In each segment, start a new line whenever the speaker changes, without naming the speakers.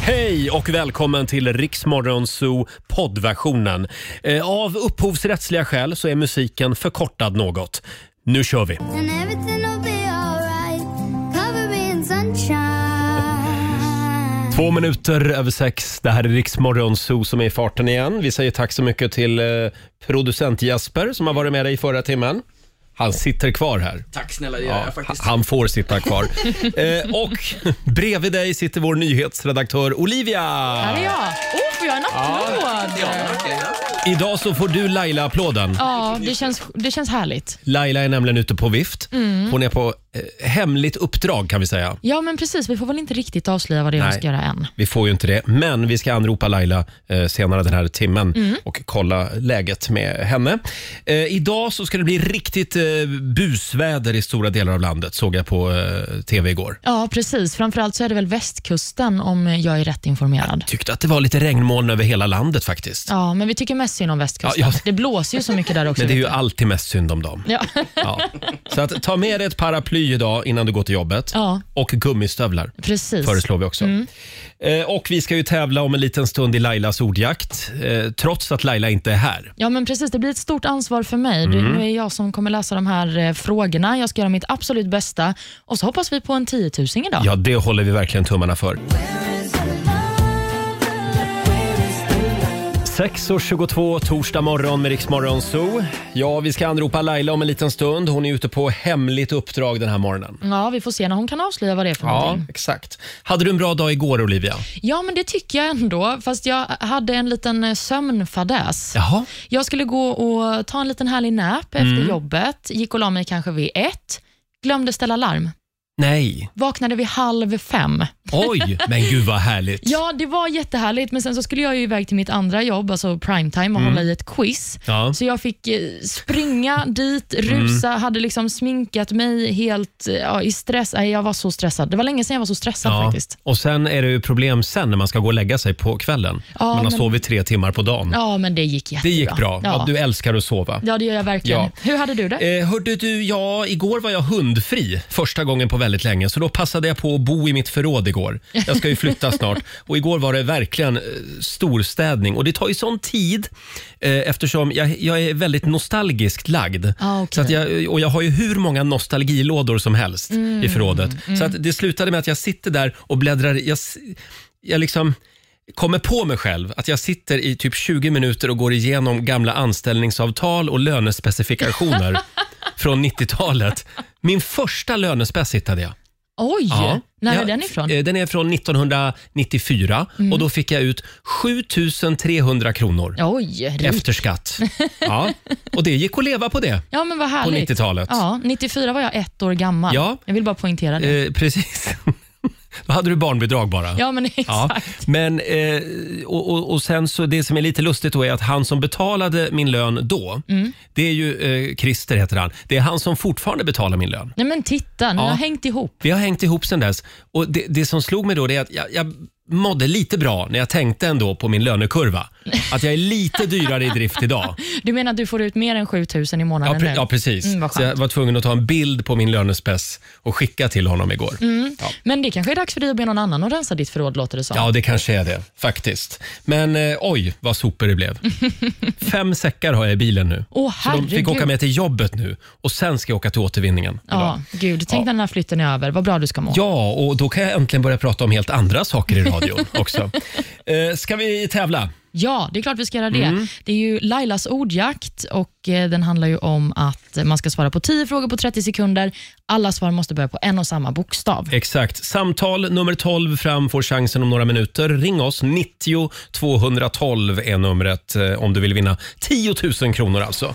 Hej och välkommen till Riksmorgon Zoo poddversionen. Eh, Av upphovsrättsliga skäl så är musiken förkortad något. Nu kör vi!
And everything will be alright. Cover me in sunshine.
Två minuter över sex. Det här är Riksmorgon Zoo som är i farten igen. Vi säger tack så mycket till eh, producent Jesper som har varit med dig i förra timmen. Han sitter kvar här.
Tack snälla, det gör
Ja,
jag faktiskt.
ha- han får sitta kvar. eh, och bredvid dig sitter vår nyhetsredaktör Olivia.
Här är jag. Oh, får jag en applåd? Ja,
Okej, ja.
Idag så får du Laila-applåden.
det, känns, det känns härligt.
Laila är nämligen ute på vift.
Mm.
Hon är på eh, hemligt uppdrag kan vi säga.
Ja, men precis. Vi får väl inte riktigt avslöja vad det är hon
Nej.
ska göra än.
Vi får ju inte det, men vi ska anropa Laila eh, senare den här timmen
Mm.
och kolla läget med henne. Eh, idag så ska det bli riktigt eh, busväder i stora delar av landet, såg jag på eh, tv igår.
Ja, precis. Framförallt så är det väl västkusten om jag är rätt informerad.
Tyckte att det var lite regnmoln över hela landet faktiskt.
Ja, men vi tycker mest synd om västkusten.
Ja, ja.
Det blåser ju så mycket där också.
Men det är ju
vet
alltid mest synd om dem.
du. ja.
Ja. Så att, ta med dig ett paraply idag innan du går till jobbet
ja,
och gummistövlar.
precis.
föreslår vi också.
Mm.
Eh, och vi ska ju tävla om en liten stund i Lailas ordjakt, eh, trots att Laila inte är här.
Ja, men precis. Det blir ett stort ansvar för mig.
Mm.
Det- Nu är jag som kommer läsa de här eh, frågorna. Jag ska göra mitt absolut bästa och så hoppas vi på en 10 000 idag.
Ja, det håller vi verkligen tummarna för. 6.22 torsdag morgon med Riksmorgon Zoo. Ja, vi ska anropa Laila om en liten stund. Hon är ute på hemligt uppdrag den här morgonen.
Ja, vi får se när hon kan avslöja vad det är för
Ja,
någonting.
exakt. Hade du en bra dag igår, Olivia?
Ja, men det tycker jag ändå. Fast jag hade en liten eh, sömnfadäs.
Jaha.
Jag skulle gå och ta en liten härlig nap efter
Mm.
jobbet. Gick och la mig kanske vid ett. Glömde ställa larm.
Nej.
Vaknade vid halv fem.
Oj, men gud vad härligt.
Ja, det var jättehärligt, men sen så skulle jag ju iväg till mitt andra jobb, alltså primetime, och
Mm.
hålla i ett quiz.
Ja.
Så jag fick eh, springa dit,
Mm.
rusa, hade liksom sminkat mig helt eh, ja, i stress. Nej, jag var så stressad. Det var länge sedan jag var så stressad
Ja.
faktiskt.
Och sen är det ju problem sen när man ska gå och lägga sig på kvällen.
Ja,
man har
men-
sovit tre timmar på dagen.
Ja, men det gick jättebra.
Det gick bra. Ja.
Ja,
du älskar att sova.
ja det gör jag verkligen.
Ja.
Hur hade du det?
Eh, hörde du, ja, igår var jag hundfri första gången på väldigt länge så då passade jag på att bo i mitt förråd igår. Jag ska ju flytta snart och igår var det verkligen eh, storstädning och det tar ju sån tid eh, eftersom jag, jag är väldigt nostalgiskt lagd.
Ah, okej.
så att jag, och jag har ju hur många nostalgilådor som helst
Mm,
i förrådet. Så att det slutade med att jag sitter där och bläddrar, jag, s- jag liksom kommer på mig själv att jag sitter i typ 20 minuter och går igenom gamla anställningsavtal och lönespecifikationer från 90-talet. Min första lönespec hittade jag.
Oj! När
Ja,
är den ifrån? Mm.
eh, Den är från 1994 och då fick jag ut 7300 kronor
Oj, rik.
efter skatt. Ja, och det gick att leva på det.
Ja, men vad härligt.
90-talet.
Ja, 94 var jag ett år gammal.
Ja.
Jag vill bara poängtera det.
Eh, precis. Då hade du barnbidrag bara.
Ja, men exakt.
Ja, men eh, och, och, och sen så det som är lite lustigt då är att han som betalade min lön då,
Mm.
det är ju eh, Christer heter han. Det är han som fortfarande betalar min lön.
Nej, men titta, ni
Ja.
har hängt ihop.
Vi har hängt ihop sen dess och det, det som slog mig då det är att jag, jag mådde lite bra när jag tänkte ändå på min lönekurva. Att jag är lite dyrare i drift idag.
Du menar att du får ut mer än 7000 i
Ja,
månaden
pre-
nu?
ja precis.
Mm, vad
så
skönt.
jag var tvungen att ta en bild på min lönespess och skicka till honom igår.
Mm. Men det kanske är dags för dig att be någon annan att rensa ditt förråd, låter det som.
Ja, det kanske är det faktiskt. Men eh, oj, vad sopor det blev. Fem säckar har jag i bilen nu.
Åh,
Så de fick
herregud.
åka med till jobbet nu och sen ska jag åka till återvinningen. idag.
Ja, gud. Tänk när den här flytten är över. Vad bra du ska må.
Ja, och då kan jag äntligen börja prata om helt andra saker i radion också. Eh, ska vi tävla?
Ja, det är klart vi ska göra det.
Mm.
Det är ju Lailas ordjakt och eh, den handlar ju om att man ska svara på 10 frågor på 30 sekunder. Alla svar måste börja på en och samma bokstav.
Exakt. Samtal nummer 12 fram får chansen om några minuter. Ring oss. 90 212 är numret eh, om du vill vinna 10 000 kronor alltså.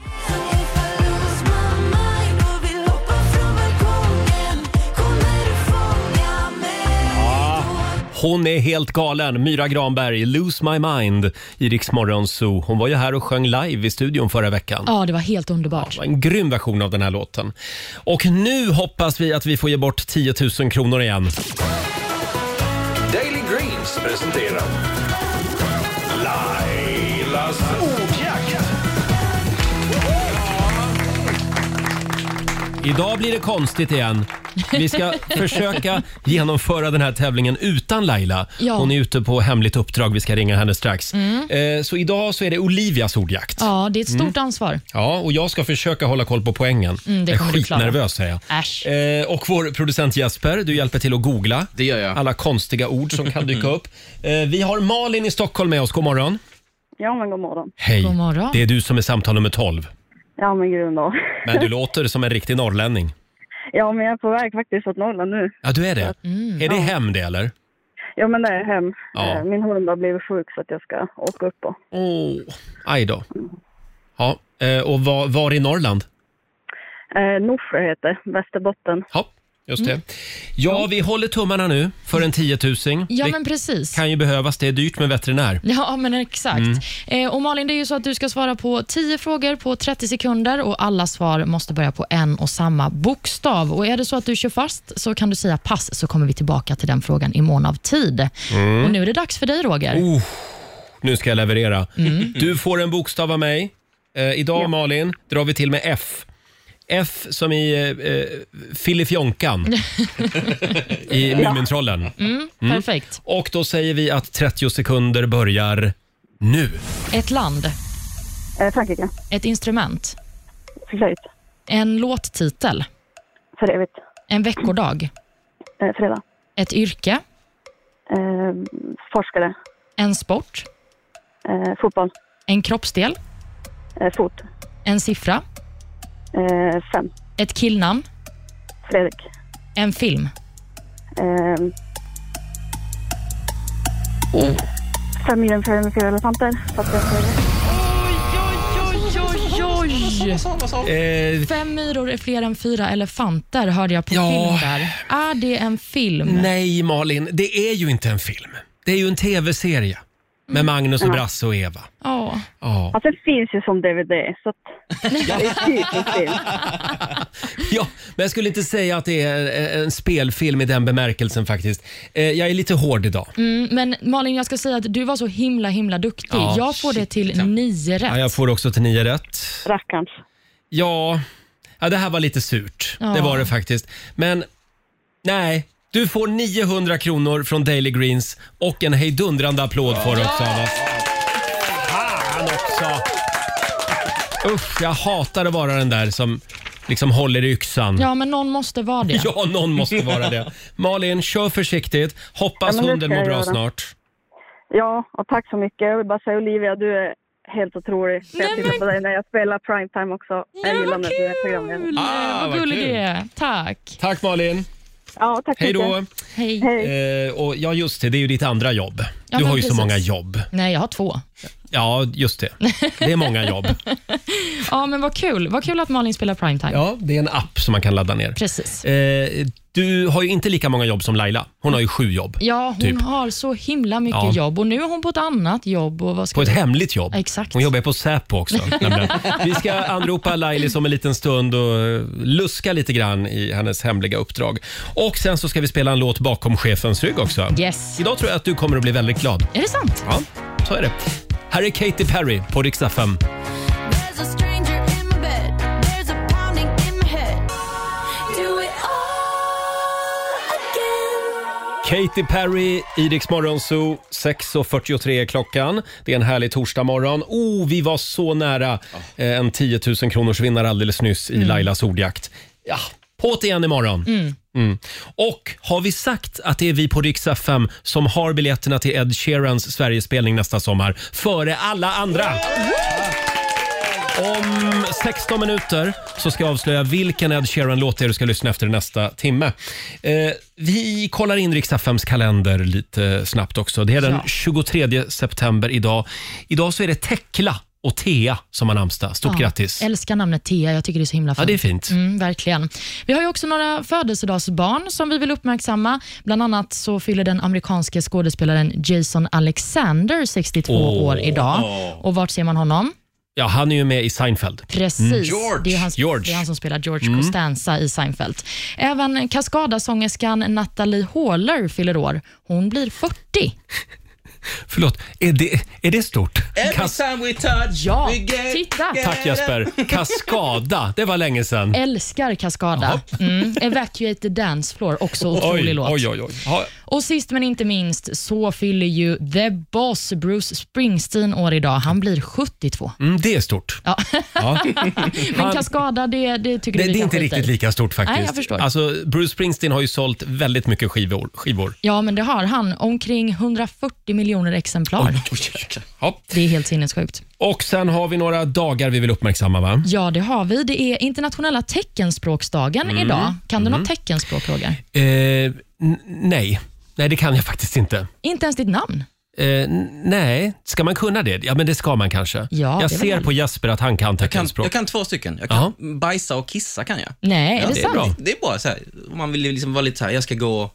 Hon är helt galen. Myra Granberg, Lose My Mind i Rix Morgon Zoo. Hon var ju här och sjöng live i studion förra veckan.
Ja, det var helt underbart.
En grym version av den här låten. Och nu hoppas vi att vi får ge bort 10 000 kronor igen.
Daily Greens presenterar Lailas ordjakt.
Idag blir det konstigt igen. Vi ska försöka genomföra den här tävlingen utan Laila.
Ja.
Hon är ute på hemligt uppdrag. Vi ska ringa henne strax. Eh, så idag så är det Olivias ordjakt. Ja.
Ja, det är ett stort ansvar.
och jag ska försöka hålla koll på poängen.
Mm, det
jag är
kommer du klara.
skitnervös säger jag.
Äsch.
Eh, och vår producent Jesper, du hjälper till att googla
Det gör jag.
alla konstiga ord som kan dyka upp. Eh, vi har Malin i Stockholm med oss. God morgon.
Ja, men god morgon.
Hej.
God morgon.
Det är du som är samtal nummer 12.
Ja, men gud ändå.
Men du låter som en riktig norrlänning.
Ja, men jag är på väg faktiskt åt Norrland nu.
Ja, du är det.
Mm,
Är det hem det eller?
Ja, men det är hem.
Ja.
Eh, Min hund har blivit sjuk så att jag ska åka upp och...
Åh, aj då. Ja, eh, och var, var i Norrland?
Eh, Norsjö heter det, Västerbotten.
Ja, just
Mm.
det. Ja, vi håller tummarna nu för en tiotusing.
Ja,
det
men precis.
kan ju behövas. Det är dyrt med veterinär.
Ja, men exakt. Eh, och Malin, det är ju så att du ska svara på 10 frågor på 30 sekunder och alla svar måste börja på en och samma bokstav. Och Är det så att du kör fast så kan du säga pass så kommer vi tillbaka till den frågan i mån av tid. Och Nu är det dags för dig, Roger.
Nu ska jag leverera. Du får en bokstav av mig. Eh, idag, Malin, drar vi till med F. F som i eh, eh, Filifjonkan i Mumintrollen.
Perfekt.
Och då säger vi att 30 sekunder börjar nu.
Ett land,
Eh, Frankrike.
ett instrument,
Flöjt.
en låttitel,
För evigt.
en veckodag,
Eh, fredag.
ett yrke,
Eh, forskare.
en sport,
Eh, fotboll.
en kroppsdel,
Eh, fot.
en siffra,
Eh, fem.
ett killnamn,
Fredrik.
en film.
Eh, Fem milen för fyra elefanter. Fast jag säger det.
Eh,
Fem myror är fler än fyra elefanter, hörde jag på
Ja.
film där. Är det en film?
nej, Malin, det är ju inte en film. Det är ju en tv-serie med Magnus och Brasse och Eva.
Ja.
Ja.
Fast den finns ju som DVD, så att... Det är typiskt film.
ja, men jag skulle inte säga att det är eh, en spelfilm i den bemärkelsen faktiskt. Eh, jag är lite hård idag.
Mm, Men Malin, jag ska säga att du var så himla himla duktig.
Ja,
jag får det till nio rätt.
Ja, jag får också till nio rätt.
Rackarns.
Ja, ja det här var lite surt.
Ja.
Det var det faktiskt. Men nej, du får 900 kronor från Daily Greens och en hejdundrande applåd får du också av oss. Fan också! Usch, jag hatar att vara den där som liksom håller i yxan.
Ja, men någon måste vara det.
Ja, någon måste vara det. Malin, kör försiktigt. Hoppas
Ja, men det
hunden
ska
mår
jag
bra
göra.
snart.
Ja, och tack så mycket. Jag vill bara säga Olivia, du är helt otrolig. För jag
Nej,
tittar
men-
på dig när jag spelar primetime också.
Ja,
Jag gillar när
vad
du
kul!
är programledare.
Ah,
vad
vad
gullig
kul.
du är. Tack.
Tack Malin.
Ja, tack så
Hej då.
mycket.
Hej.
Hej.
Eh, och ja, just det. Det är ju ditt andra jobb.
Ja,
du
men
har ju så
precis.
många jobb.
Nej, jag har två.
Ja, just det. Det är många jobb.
Ja, men vad kul. Vad kul att Malin spelar primetime.
Ja, det är en app som man kan ladda ner.
Precis.
Eh, du har ju inte lika många jobb som Laila. Hon har ju sju jobb.
Ja, hon
Typ.
har så himla mycket
Ja.
jobb och nu är hon på ett annat jobb. Och vad ska
På ett
vi-
hemligt jobb.
Exakt.
Hon jobbar ju på Säpo också. nämligen. Vi ska anropa Lailis om en liten stund och eh, luska lite grann i hennes hemliga uppdrag. Och sen så ska vi spela en låt bakom chefens rygg också.
Yes.
Idag tror jag att du kommer att bli väldigt glad.
Är det sant?
Ja, så är det. Här är Katy Perry på riksdag 5.
There's a stranger in my bed. There's a pounding in my head. Do it all again.
Katy Perry, Iriks morgonzoo, 6.43 är klockan. Det är en härlig torsdagmorgon. Oh, vi var så nära eh, en 10 000 kronors vinnare alldeles nyss i Lailas ordjakt. Ja, på det igen imorgon. Mm. Och har vi sagt att det är vi på Rix FM som har biljetterna till Ed Sheerans Sverigespelning nästa sommar, före alla andra? Om 16 minuter så ska jag avslöja vilken Ed Sheeran-låt det är du ska lyssna efter i nästa timme. Eh, vi kollar in Riks-FMs kalender lite snabbt också. Det är den
Ja.
23 september idag. Idag så är det Tekla och Thea som har namnsdag. Stort
Ja,
grattis!
Älskar namnet Thea. Jag tycker det är så himla fint.
Ja, det är fint.
Mm, verkligen. Vi har ju också några födelsedagsbarn som vi vill uppmärksamma. Bland annat så fyller den amerikanske skådespelaren Jason Alexander 62
Åh.
år idag. Och vart ser man honom?
Ja, han är ju med i Seinfeld.
Precis.
George.
Det, är han,
Mm. George. Mm.
det är han som spelar George Costanza i Seinfeld. Även kaskadasångerskan Natalie Haller fyller år. Hon blir 40.
Förlåt, är det, är det stort?
Every
Kas-
time we touch,
Ja,
we get,
titta.
get
tack Jesper. Kaskada, det var länge sedan.
Älskar Cascada. Mm. Evacuate the dance floor, också otrolig låt.
oj, oj, oj. Ha,
Och sist men inte minst så fyller ju The Boss, Bruce Springsteen, år idag. Han blir 72.
mm, det är stort.
Ja.
Ja.
Men Cascada, det, det tycker
Det,
du vi
det är
kan
inte
skita i.
riktigt lika stort faktiskt.
Nej, jag förstår.
Alltså, Bruce Springsteen har ju sålt väldigt mycket skivor. skivor.
Ja, men det har han. Omkring 140 miljoner exemplar.
Ja.
Det är helt sinnessjukt.
Och sen har vi några dagar vi vill uppmärksamma va?
Ja, det har vi. Det är internationella teckenspråksdagen
Mm.
idag. Kan du något teckenspråk, Roger?
Eh, n- nej. Nej, det kan jag faktiskt inte.
Inte ens ditt namn.
Eh, n- nej, ska man kunna det? Ja, men det ska man kanske.
det är väl
jag ser
härligt.
på Jesper att han kan
Jag kan,
teckenspråk.
jag kan två stycken. Jag kan
Jaha.
bajsa och kissa kan jag.
Nej, är det,
det är
sant?
bra.
Det är bara så här, om man vill liksom vara lite så här, jag ska gå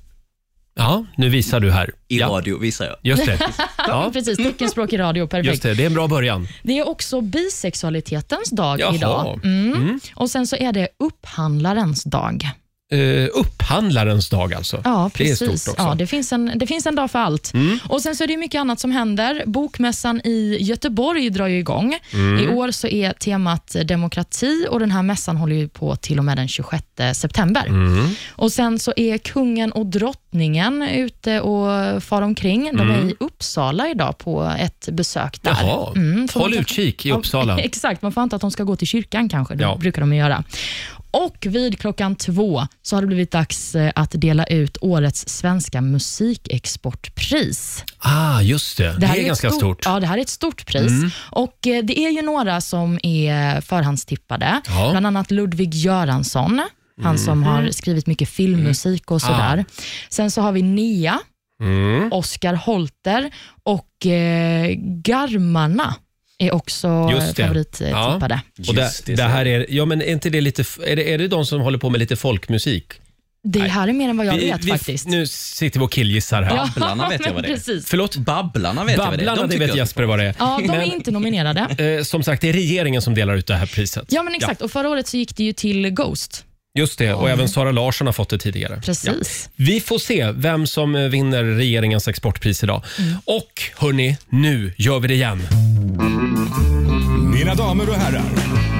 Ja, nu visar du här.
i
Ja,
radio, visar jag.
just det. Ja,
Precis, teckenspråk i radio, perfekt.
just det. Det är en bra början.
Det är också bisexualitetens dag
Jaha.
idag. Mm. Och Sen så är det upphandlarens dag.
Eh, upphandlarens dag alltså.
Ja, precis.
Det är stort också. Mm.
Ja, det, finns en, det finns en dag för allt. Och Sen så är det ju mycket annat som händer. Bokmässan i Göteborg drar ju igång.
Mm.
I år så är temat demokrati och den här mässan håller ju på till och med den 26 september.
Mm.
Och Sen så är kungen och drottningen ute och far omkring.
Mm.
De är i Uppsala idag på ett besök där. Mm,
Jaha.
får man
Håll
kanske-
utkik i
Ja,
Uppsala.
Exakt, man får anta att de ska gå till kyrkan kanske. Det
Ja.
brukar de ju göra. Och vid klockan två så har det blivit dags eh, att dela ut årets svenska musikexportpris.
Ah, just det. Det,
här
är
ett
ganska stort. Mm.
Ja, det här är ett stort pris. Och eh, Det är ju några som är förhandstippade,
Ja. Mm.
bland annat Ludvig Göransson, han som har skrivit mycket filmmusik och
Ah.
sådär. Sen så har vi Nia,
Mm.
Oscar Holter och eh, Garmarna är också
Just det.
favorittippade.
Och det,
Just det,
det här är, ja, men är, inte det lite, f- är, det, är det de som håller på med lite folkmusik?
Det här är mer än vad jag
Vi-
vet
vi-
faktiskt.
Nu sitter vi och killgissar här.
Babblarna vet jag vad det är.
men Precis.
Förlåt?
Babblarna vet jag vad det
Babblarna,
är.
det vet
tycker
Jesper vad det är.
Ja, de
Men-
är inte nominerade.
Eh, som sagt, det är regeringen som delar ut det här priset.
Ja, men exakt. Och Förra året så gick det ju till Ghost.
Just det, och även Sara Larsson har fått det tidigare. Ja.
Precis.
Vi får se vem som eh, vinner regeringens exportpris idag.
Mm.
Och hörni, nu gör vi det igen.
Mina damer och herrar,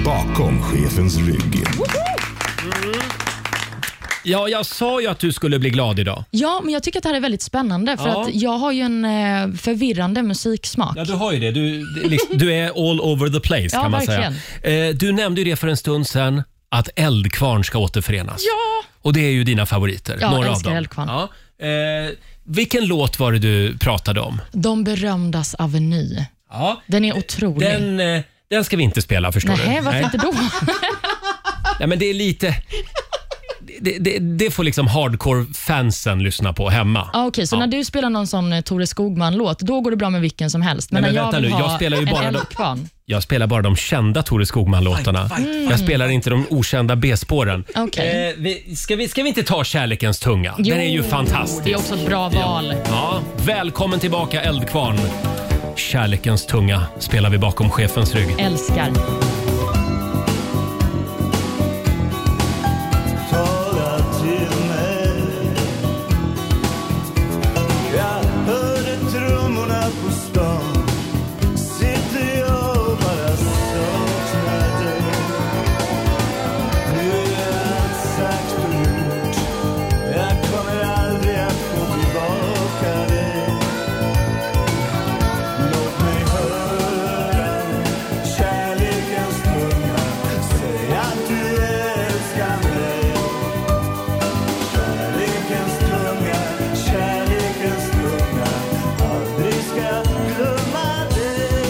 bakom chefens rygg.
Ja, jag sa ju att du skulle bli glad idag.
Ja, men jag tycker att det här är väldigt spännande för
Ja.
att jag har ju en eh, förvirrande musiksmak.
Ja, du har ju det. Du, det är liksom, du är all over the place
Ja,
kan man säga. Eh, du nämnde ju det för en stund sedan, att Eldkvarn ska återförenas.
Ja.
Och det är ju dina favoriter,
Ja,
några av
älskar
dem.
Eldkvarn.
Ja. Eh, vilken låt var det du pratade om?
De berömdas Aveny.
Ja,
Den är otrolig.
den, eh, den ska vi inte spela förstår
Nähä,
du.
varför inte då?
Nej, men det är lite... Det, det, det får liksom hardcore-fansen lyssna på hemma.
Ah, Okej, så
Ja.
när du spelar någon sån eh, Tore Skogman-låt, då går det bra med vilken som helst. Men,
Nej, men
när jag
vänta
vill
nu,
ha
jag spelar ju bara
en
de-
eldkvarn.
Jag spelar bara de kända Tore Skogman-låtarna.
Fight, fight,
Jag spelar inte de okända B-spåren.
Okej.
Eh, vi, ska, vi, ska vi inte ta Kärlekens tunga? Den är ju fantastisk.
Det är också ett bra val.
Ja, välkommen tillbaka Eldkvarn. Kärlekens tunga spelar vi bakom chefens rygg.
Älskar.
Tala till mig Jag hörde trummorna på stan Sitter jag och bara saknar dig Nu är allt sagt och gjort Jag kommer aldrig att få tillbaka dig Låt mig höra kärlekens tunga Säg att du älskar mig Kärlekens tunga, kärlekens tunga Aldrig ska glömma dig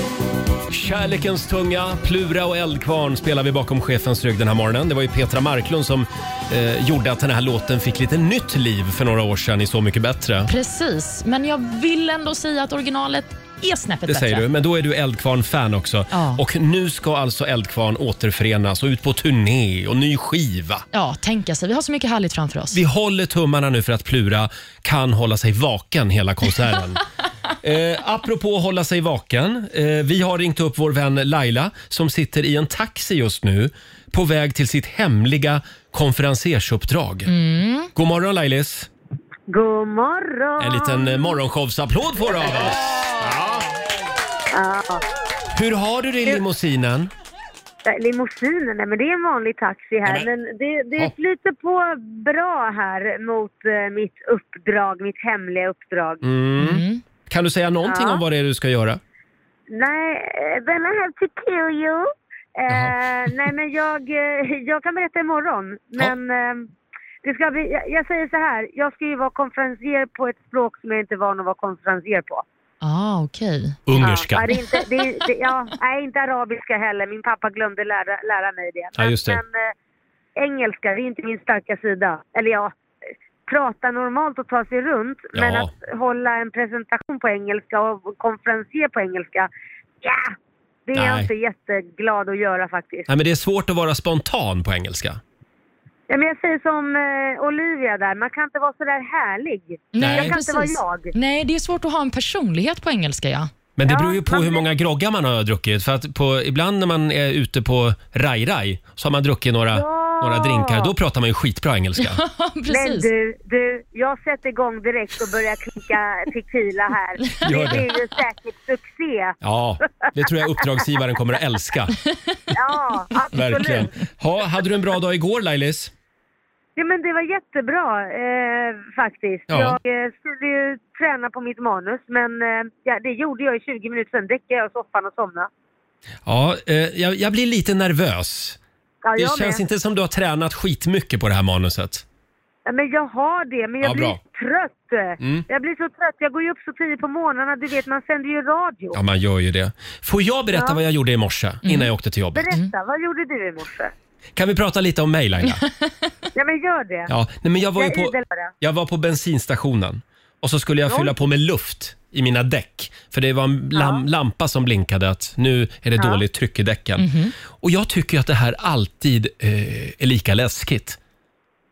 Kärlekens tunga, Plura och Eldkvarn spelar vi bakom chefens rygg den här morgonen. Det var ju Petra Marklund som eh, gjorde att den här låten fick lite nytt liv för några år sedan i Så mycket bättre.
Precis, men jag vill ändå säga att originalet är snäppet
Det
bättre.
säger du, men då är du Eldkvarn-fan också.
Ja.
Och nu ska alltså Eldkvarn återförenas och ut på turné och ny skiva.
Ja, tänka sig. Vi har så mycket härligt framför oss.
Vi håller tummarna nu för att Plura kan hålla sig vaken hela konserten. Eh, apropå att hålla sig vaken. Eh, vi har ringt upp vår vän Laila som sitter i en taxi just nu på väg till sitt hemliga konferensersuppdrag. God morgon Lailis!
God morgon!
En liten eh, morgonshowsapplåd får du av oss.
Ja.
Hur har du det i limousinen?
Nej, Limousinen, nej men det är en vanlig taxi här.
Nej, men-
men det, det
Ja.
flyter på bra här mot eh, mitt uppdrag, mitt hemliga uppdrag.
Mm. Kan du säga någonting
Ja.
om vad det är du ska göra?
Nej, eh, then I have to kill you.
Jaha.
Eh, nej men jag, eh, jag kan berätta imorgon. Men eh, det ska bli, jag, jag säger så här, jag ska ju vara konferencier på ett språk som jag inte är van att vara konferencier på.
Ah, okej.
Ungerska.
Ja, det är inte, det är, det, ja, nej, inte arabiska heller. Min pappa glömde lära, lära mig det.
Ja, just det.
men eh, engelska, det är inte min starka sida. Eller ja, eh, prata normalt och ta sig runt. Men
Ja.
att hålla en presentation på engelska och konferenser på engelska, ja! Det är jag
Nej.
inte jätteglad att göra faktiskt.
Nej, men det är svårt att vara spontan på engelska.
Ja, men jag säger som eh, Olivia där, man kan inte vara sådär härlig.
Nej.
Jag kan inte vara jag.
Nej, det är svårt att ha en personlighet på engelska, ja.
Men det
Ja,
beror ju på
man
hur
blir-
många groggar man har druckit. För att på, ibland när man är ute på raj-raj så har man druckit några,
Ja.
några drinkar. Då pratar man ju skitbra engelska.
Men
Precis.
du, du, jag sätter igång direkt och börjar klicka tequila här.
Gör
Det
det.
blir ju säkert succé.
Ja, det tror jag uppdragsgivaren kommer att älska.
Ja, absolut.
Verkligen. Ha, hade du en bra dag igår Lailis?
Ja, men det var jättebra eh, faktiskt.
Ja.
Jag eh, skulle ju träna på mitt manus, men eh, ja, det gjorde jag i 20 minuter. Sen däckade jag i soffan och somnade.
Ja, eh, jag, jag blir lite nervös.
Ja,
Det
jag
känns
med.
inte som du har tränat skitmycket på det här manuset.
Ja, men jag har det, men jag
Ja,
blir
bra.
trött.
Mm.
Jag blir så trött. Jag går ju upp så tidigt på morgnarna. Du vet, man sänder ju radio.
Ja, man gör ju det. Får jag berätta
Ja. Mm.
vad jag gjorde i morse innan jag åkte till jobbet?
Berätta, vad gjorde du i morse?
Kan vi prata lite om mig Laila?
Ja, men gör det.
Ja, nej, men jag var ju
Jag är
på...
idel på det.
Jag var på bensinstationen och så skulle jag
Ja.
fylla på med luft i mina däck. För det var en lam- lampa som blinkade att nu är det
Ja. Mhm.
dåligt tryck i däcken. Och jag tycker ju att det här alltid eh, är lika läskigt.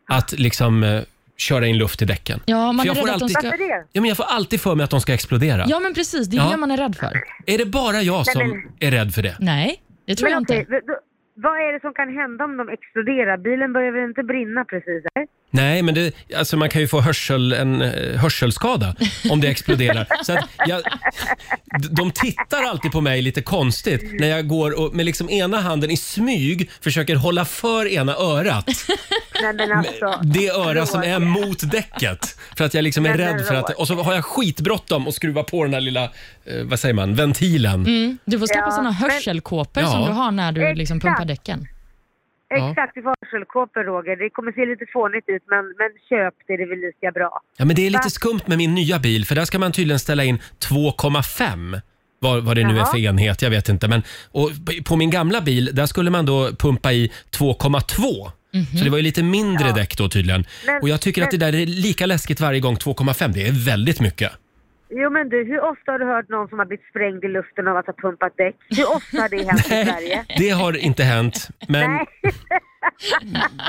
Att liksom eh, köra in luft i däcken.
Ja,
För
man är
jag får
rädd att de
alltid-
ska...
Varför det?
Ja, men jag får alltid för mig att de ska explodera.
Ja, men precis. Det är
Ja.
det man är rädd för.
Är det bara jag som är rädd för det?
Nej, det tror jag
Men okej,
inte.
v- då- vad är det som kan hända om de exploderar? Bilen börjar väl inte brinna precis? eller?
Nej, men det, alltså man kan ju få hörsel, en eh, hörselskada om det exploderar. Så att jag, d- de tittar alltid på mig lite konstigt när jag går och med liksom ena handen i smyg försöker hålla för ena örat.
Nej men alltså.
Det öra som är
Roger.
mot däcket. För att jag liksom är
Men,
rädd
men,
för att... Och så har jag skitbråttom och skruva på den här lilla, eh, vad säger man, ventilen.
Mm. Du får skaffa
Ja,
såna
men-
hörselkåpor
Ja.
som du har när du liksom
Exakt.
pumpar däcken.
Exakt, du får hörselkåpor Roger. Det kommer se lite fånigt ut men, men köp det, det är väl lika bra.
Ja, men det är lite skumt med min nya bil för där ska man tydligen ställa in 2,5. Vad, vad det nu är
Jaha.
för enhet, jag vet inte. Men, och p- på min gamla bil, där skulle man då pumpa i 2,2. Så det var ju lite mindre däck då tydligen.
Men-
och jag tycker att det
men-
där är lika läskigt varje gång 2,5. Det är väldigt mycket.
Jo men du, hur ofta har du hört någon som har blivit sprängd i luften av att ha pumpat däck? Hur ofta har det hänt i Sverige?
Det har inte hänt. Men,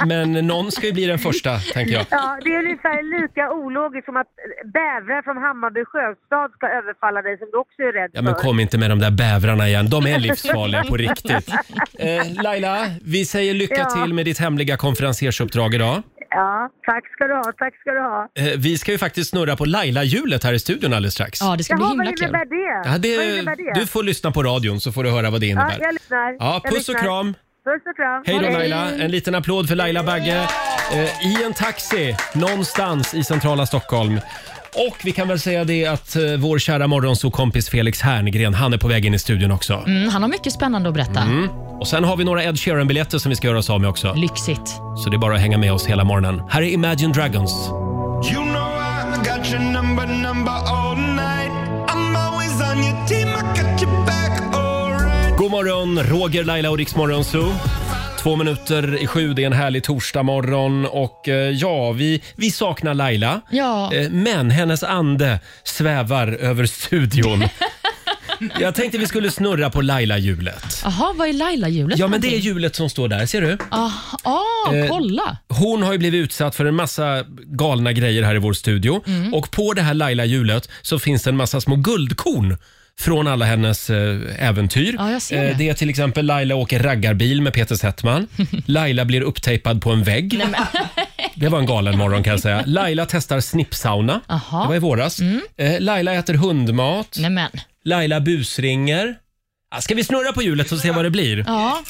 Nej,
men någon ska ju bli den första, tänker jag.
ja, det är ungefär lika ologiskt som att bävrar från Hammarby sjöstad ska överfalla dig som du också är rädd
Ja, men
för.
kom inte med de där bävrarna igen. De är livsfarliga på riktigt. Eh, Laila, vi säger lycka
Ja.
till med ditt hemliga konferensersuppdrag idag.
Ja, tack ska du ha, tack ska du ha.
Eh, Vi ska ju faktiskt snurra på Laila-hjulet här i studion alldeles strax.
Ja, det ska
Jaha,
bli
vad
himla kul.
innebär det?
Ja,
Vad innebär det?
Du får lyssna på radion så får du höra vad det
ja,
innebär.
jag lyssnar.
Ja,
Jag
puss och
lyssnar.
kram.
Puss och kram.
Hej då
Hej.
Laila. En liten applåd för Laila Bagge eh, i en taxi någonstans i centrala Stockholm. Och vi kan väl säga det att eh, vår kära morgonsokompis Felix Herngren, han är på väg in i studion också.
Mm, han har mycket spännande att berätta.
Och sen har vi några Ed Sheeran-biljetter som vi ska göra oss av med också.
Lyxigt.
Så det är bara att hänga med oss hela morgonen. Här är Imagine Dragons.
You know I got your number, number all night. I'm always on your team, I got your back, alright.
God morgon, Roger, Laila och Riksmorgon Zoo. Två minuter i sju, det är en härlig torsdagmorgon och eh, ja, vi, vi saknar Laila.
Ja.
Eh, Men hennes ande svävar över studion. Jag tänkte vi skulle snurra på Laila-hjulet.
Jaha, vad är Laila-hjulet?
Ja, men det
för
är
någonting?
hjulet som står där, ser du?
Aha, ah,
Eh,
kolla!
Hon har ju blivit utsatt för en massa
Mm.
galna grejer här i vår studio. Och på det här Laila-hjulet så finns det en massa små guldkorn från alla hennes eh, äventyr.
Ja, jag ser
Eh,
det.
det är till exempel Laila åker raggarbil med Peter Settman. Laila blir upptejpad på en vägg. Det var en galen morgon kan jag säga. Laila testar snippsauna.
Aha. Mm.
Det var i våras. Eh, Laila äter hundmat.
Nej men,
Laila busringer. Ah, Ska vi snurra på hjulet och se vad det blir?
ja.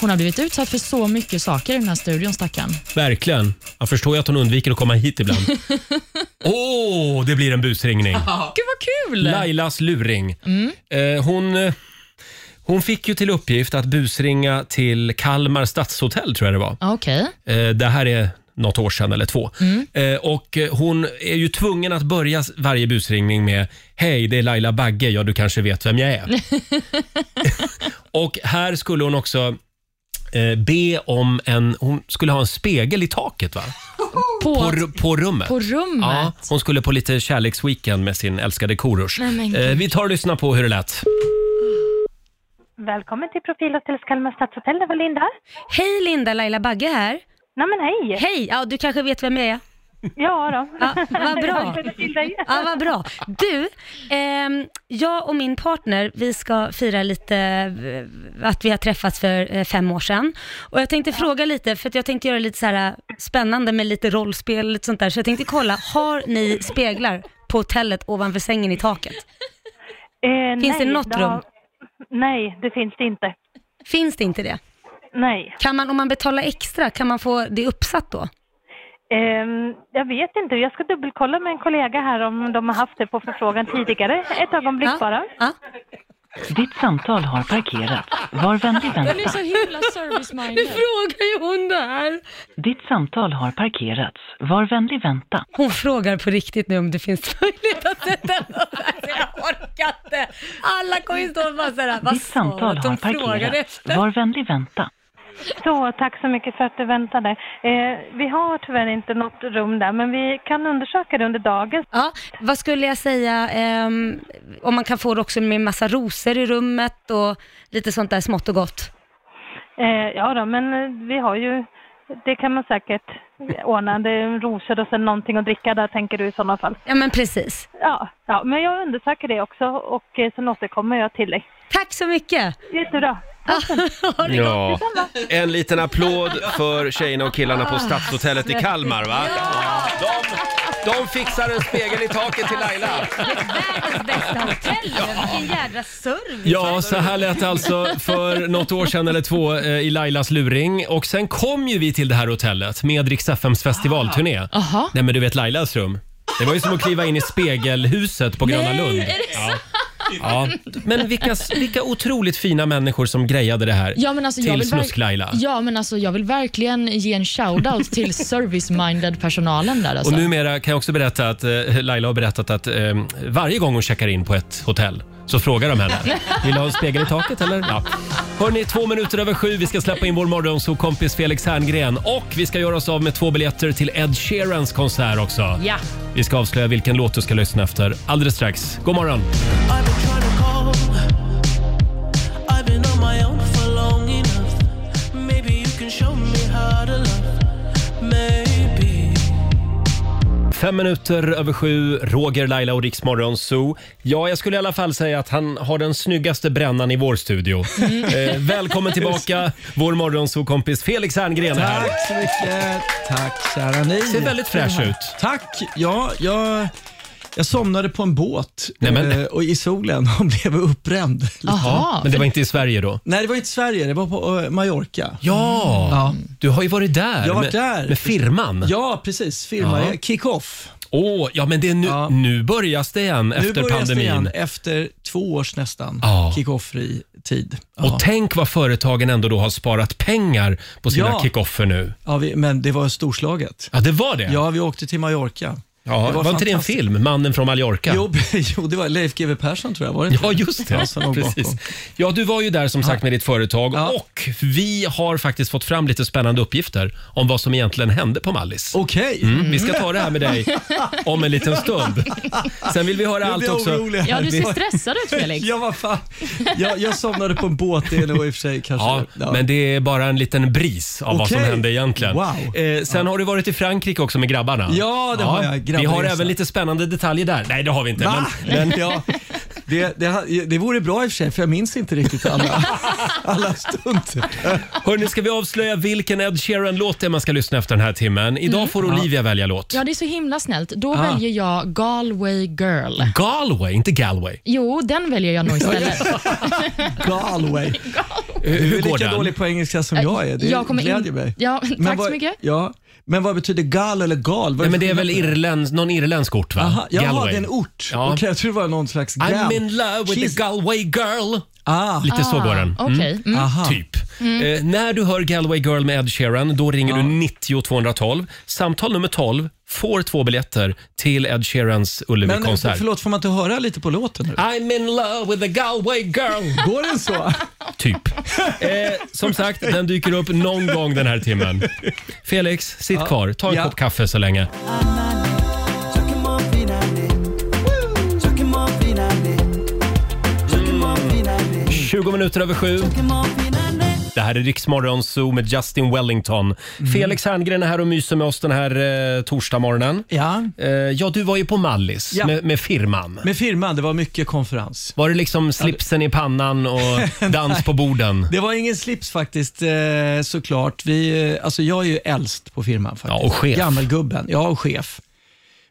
Hon har blivit utsatt för så mycket saker i den här studion, stackarn.
Verkligen. Jag förstår ju att hon undviker att komma hit ibland. Åh, det blir en busringning.
Gud vad kul!
Lailas luring. Eh, hon, eh, hon fick ju till uppgift att busringa till Kalmar stadshotell, tror jag det var.
Ja, Okej.
Eh, det här är något år sedan eller två. Eh, och eh, hon är ju tvungen att börja s- varje busringning med Hej, det är Laila Bagge. Ja, du kanske vet vem jag är. och här skulle hon också eh, be om en... Hon skulle ha en spegel i taket, va?
På,
På, ru- på rummet.
på rummet?
Ja, hon skulle på lite kärleksweekend med sin älskade Korosh.
Nej, men
Eh,
gud.
vi tar och lyssnar på hur det lät.
Välkommen till Profilhotellet Kalmar stadshotell, det var Linda.
Hej Linda, Laila Bagge här.
Nej men hej!
Hej, ja du kanske vet vem jag är?
Ja då.
Ja, vad bra.
Jag känner till dig.
Ja, vad bra. Du, ehm, jag och min partner, vi ska fira lite eh, att vi har träffats för eh, fem år sedan. Och jag tänkte fråga lite, för att jag tänkte göra lite så här eh, spännande med lite rollspel och lite sånt där. Så jag tänkte kolla, har ni speglar på hotellet ovanför sängen i taket?
Eh,
Finns det något
har-
rum?
Nej, det finns det inte.
Finns det inte det?
Nej.
Kan man, om man betalar extra, kan man få det uppsatt då?
Ehm, jag vet inte, jag ska dubbelkolla med en kollega här om de har haft det på förfrågan tidigare. Ett ögonblick
Ja.
bara.
Ja.
Ditt samtal har parkerats. Var vänlig
Den är
vänta.
så himla service-minded.
Frågar ju hon där.
Ditt samtal har parkerats. Var vänlig vänta.
Hon frågar på riktigt nu om det finns möjlighet att sätta den upp. Alltså, Jag orkar inte. Alla kommer ju stå och bara såhär, vad
Ditt
sa
samtal
du att
har
de frågade
parkerats.
efter?
Var vänlig vänta.
Så, tack så mycket för att du väntade. Eh, vi har tyvärr inte något rum där, men vi kan undersöka det under dagen.
Ja, vad skulle jag säga, ehm, om man kan få det också med massa rosor i rummet och lite sånt där smått och gott.
Eh, ja då, men eh, vi har ju, det kan man säkert ordna. Det är rosor och sen någonting att dricka där, tänker du i sådana fall.
Ja men precis.
Ja, ja men jag undersöker det också och eh, sen återkommer jag till dig.
Tack så mycket.
Jättebra.
Ja. En liten applåd för tjejerna och killarna på Stadshotellet i Kalmar. Va? De, de fixar en spegel i taket till Laila.
Världens bästa hotell, vilken jädra service.
Ja, så här lät det alltså för något år sedan eller två eh, i Lailas luring. Och sen kom ju vi till det här hotellet med Rix FMs festivalturné.
Ah. Aha.
Nej men du vet Lailas rum. Det var ju som att kliva in i spegelhuset på Gröna Lund. Ja. Ja. Men vilka, vilka otroligt fina människor som grejade det här
Ja, men alltså, jag
till
vill verk-
Snusk-Laila.
Ja, men alltså jag vill verkligen ge en shout-out till service-minded personalen där alltså.
Och numera kan jag också berätta att eh, Laila har berättat att eh, varje gång hon checkar in på ett hotell så frågar de henne. Vill du ha en spegel i taket eller? Ja. Hörni, två minuter över sju. Vi ska släppa in vår morgonsåkompis Felix Herngren och vi ska göra oss av med två biljetter till Ed Sheerans konsert också.
Ja.
Vi ska avslöja vilken låt du ska lyssna efter alldeles strax. God morgon! Fem minuter över sju, Roger, Laila och Riksmorgon Zoo. Ja, jag skulle i alla fall säga att han har den snyggaste brännan i vår studio.
Mm.
Eh, välkommen tillbaka, vår morgonzoo-kompis Felix Herngren här.
Tack så mycket. Tack kära ni.
Ser väldigt fräsch ut.
Tack. Ja, jag, jag somnade på en båt
Nej, men- Ah,
eh, och i solen och blev uppbränd.
Jaha.
Men det var inte i Sverige då?
Nej, det var inte Sverige, det var på eh, Mallorca.
Ja, du har ju varit där.
Jag har varit
med,
där.
Med firman. Åh, ja.
Ja, precis. Firma
Ja.
kick-off.
men det är nu,
Ja.
nu börjas det igen
Nu
efter
börjar det
pandemin.
igen efter två års nästan
Ja.
kick-off-fri tid.
Och
Ja.
tänk vad företagen ändå då har sparat pengar på sina
Ja.
kickoffer nu.
Ja, vi, men det var storslaget.
Ja, det var det.
Ja, vi åkte till Mallorca.
Ja, var, inte det en
fantastiskt.
film, Mannen från Mallorca?
Jo, jo, det var Leif GW Persson tror jag, var det inte?
Ja, just det.
Ja, som låg
Precis.
bakom.
Ja, du var ju där som sagt med ditt företag
Ja.
och vi har faktiskt fått fram lite spännande uppgifter om vad som egentligen hände på Mallis.
Okej.
Mm, vi ska ta det här med dig om en liten stund. Sen vill vi höra
Nu blir
allt
jag
också.
orolig här.
Ja, du
Vi-
ser stressad ut Felix.
Ja, vad fan. Jag, jag somnade på en båt, det är nog i och för sig kanske.
Ja, men det är bara en liten bris av vad som
Okej.
hände egentligen.
Wow.
Eh, sen har du varit i Frankrike också med grabbarna.
Ja, det har jag.
Vi har
Grabbresa.
även lite spännande detaljer där. Nej, det har vi inte.
Va?
Men, men
ja. Det, det, det vore bra i och för sig, för jag minns inte riktigt alla, alla stunder.
Hörni, ska vi avslöja vilken Ed Sheeran-låt det är man ska lyssna efter den här timmen? Idag
Mm.
får Olivia välja låt.
Ja, det är så himla snällt. Då
Ah.
väljer jag Galway Girl.
Galway, inte Galway.
Jo, den väljer jag nog istället.
Galway.
Hur,
du är
går
lika
den?
dålig på engelska som jag är. Det
Jag kommer in-
glädjer mig.
Ja,
Men
tack
vad,
så mycket.
Ja, men vad betyder gal eller gal?
Nej, men det är väl irländ, någon irländsk ort va?
Aha, jaha,
Galway.
det är en ort.
Ja.
Okej, jag tror det var någon slags gal.
I'm in love with the Galway girl.
Ah.
Lite så går den. Mm.
okej. Mm.
Aha.
Typ.
Mm.
Eh, när du hör Galway Girl med Ed Sheeran, då ringer du 90 212. Samtal nummer 12 får två biljetter till Ed Sheerans
Men eh,
Ullevi-konsert.
förlåt, får man inte höra lite på låten nu?
I'm in love with a Galway girl.
Går den så?
Typ. Eh, som sagt, den dyker upp någon gång den här timmen. Felix, sitt
Ja.
kvar. Ta en
Ja.
kopp kaffe så länge.
Mm.
20 minuter över sju. Det här är Riksmorgon Zoo med Justin Wellington.
Mm.
Felix Herngren är här och myser med oss den här eh, torsdagsmorgonen.
Ja.
Eh, ja, du var ju på Mallis
Ja.
med, med firman.
Med firman, det var mycket konferens.
Var det liksom slipsen i pannan och dans på borden?
Det var ingen slips faktiskt eh, såklart. Vi, eh, alltså jag är ju äldst på firman faktiskt.
Ja, och chef.
Gammelgubben, ja och chef.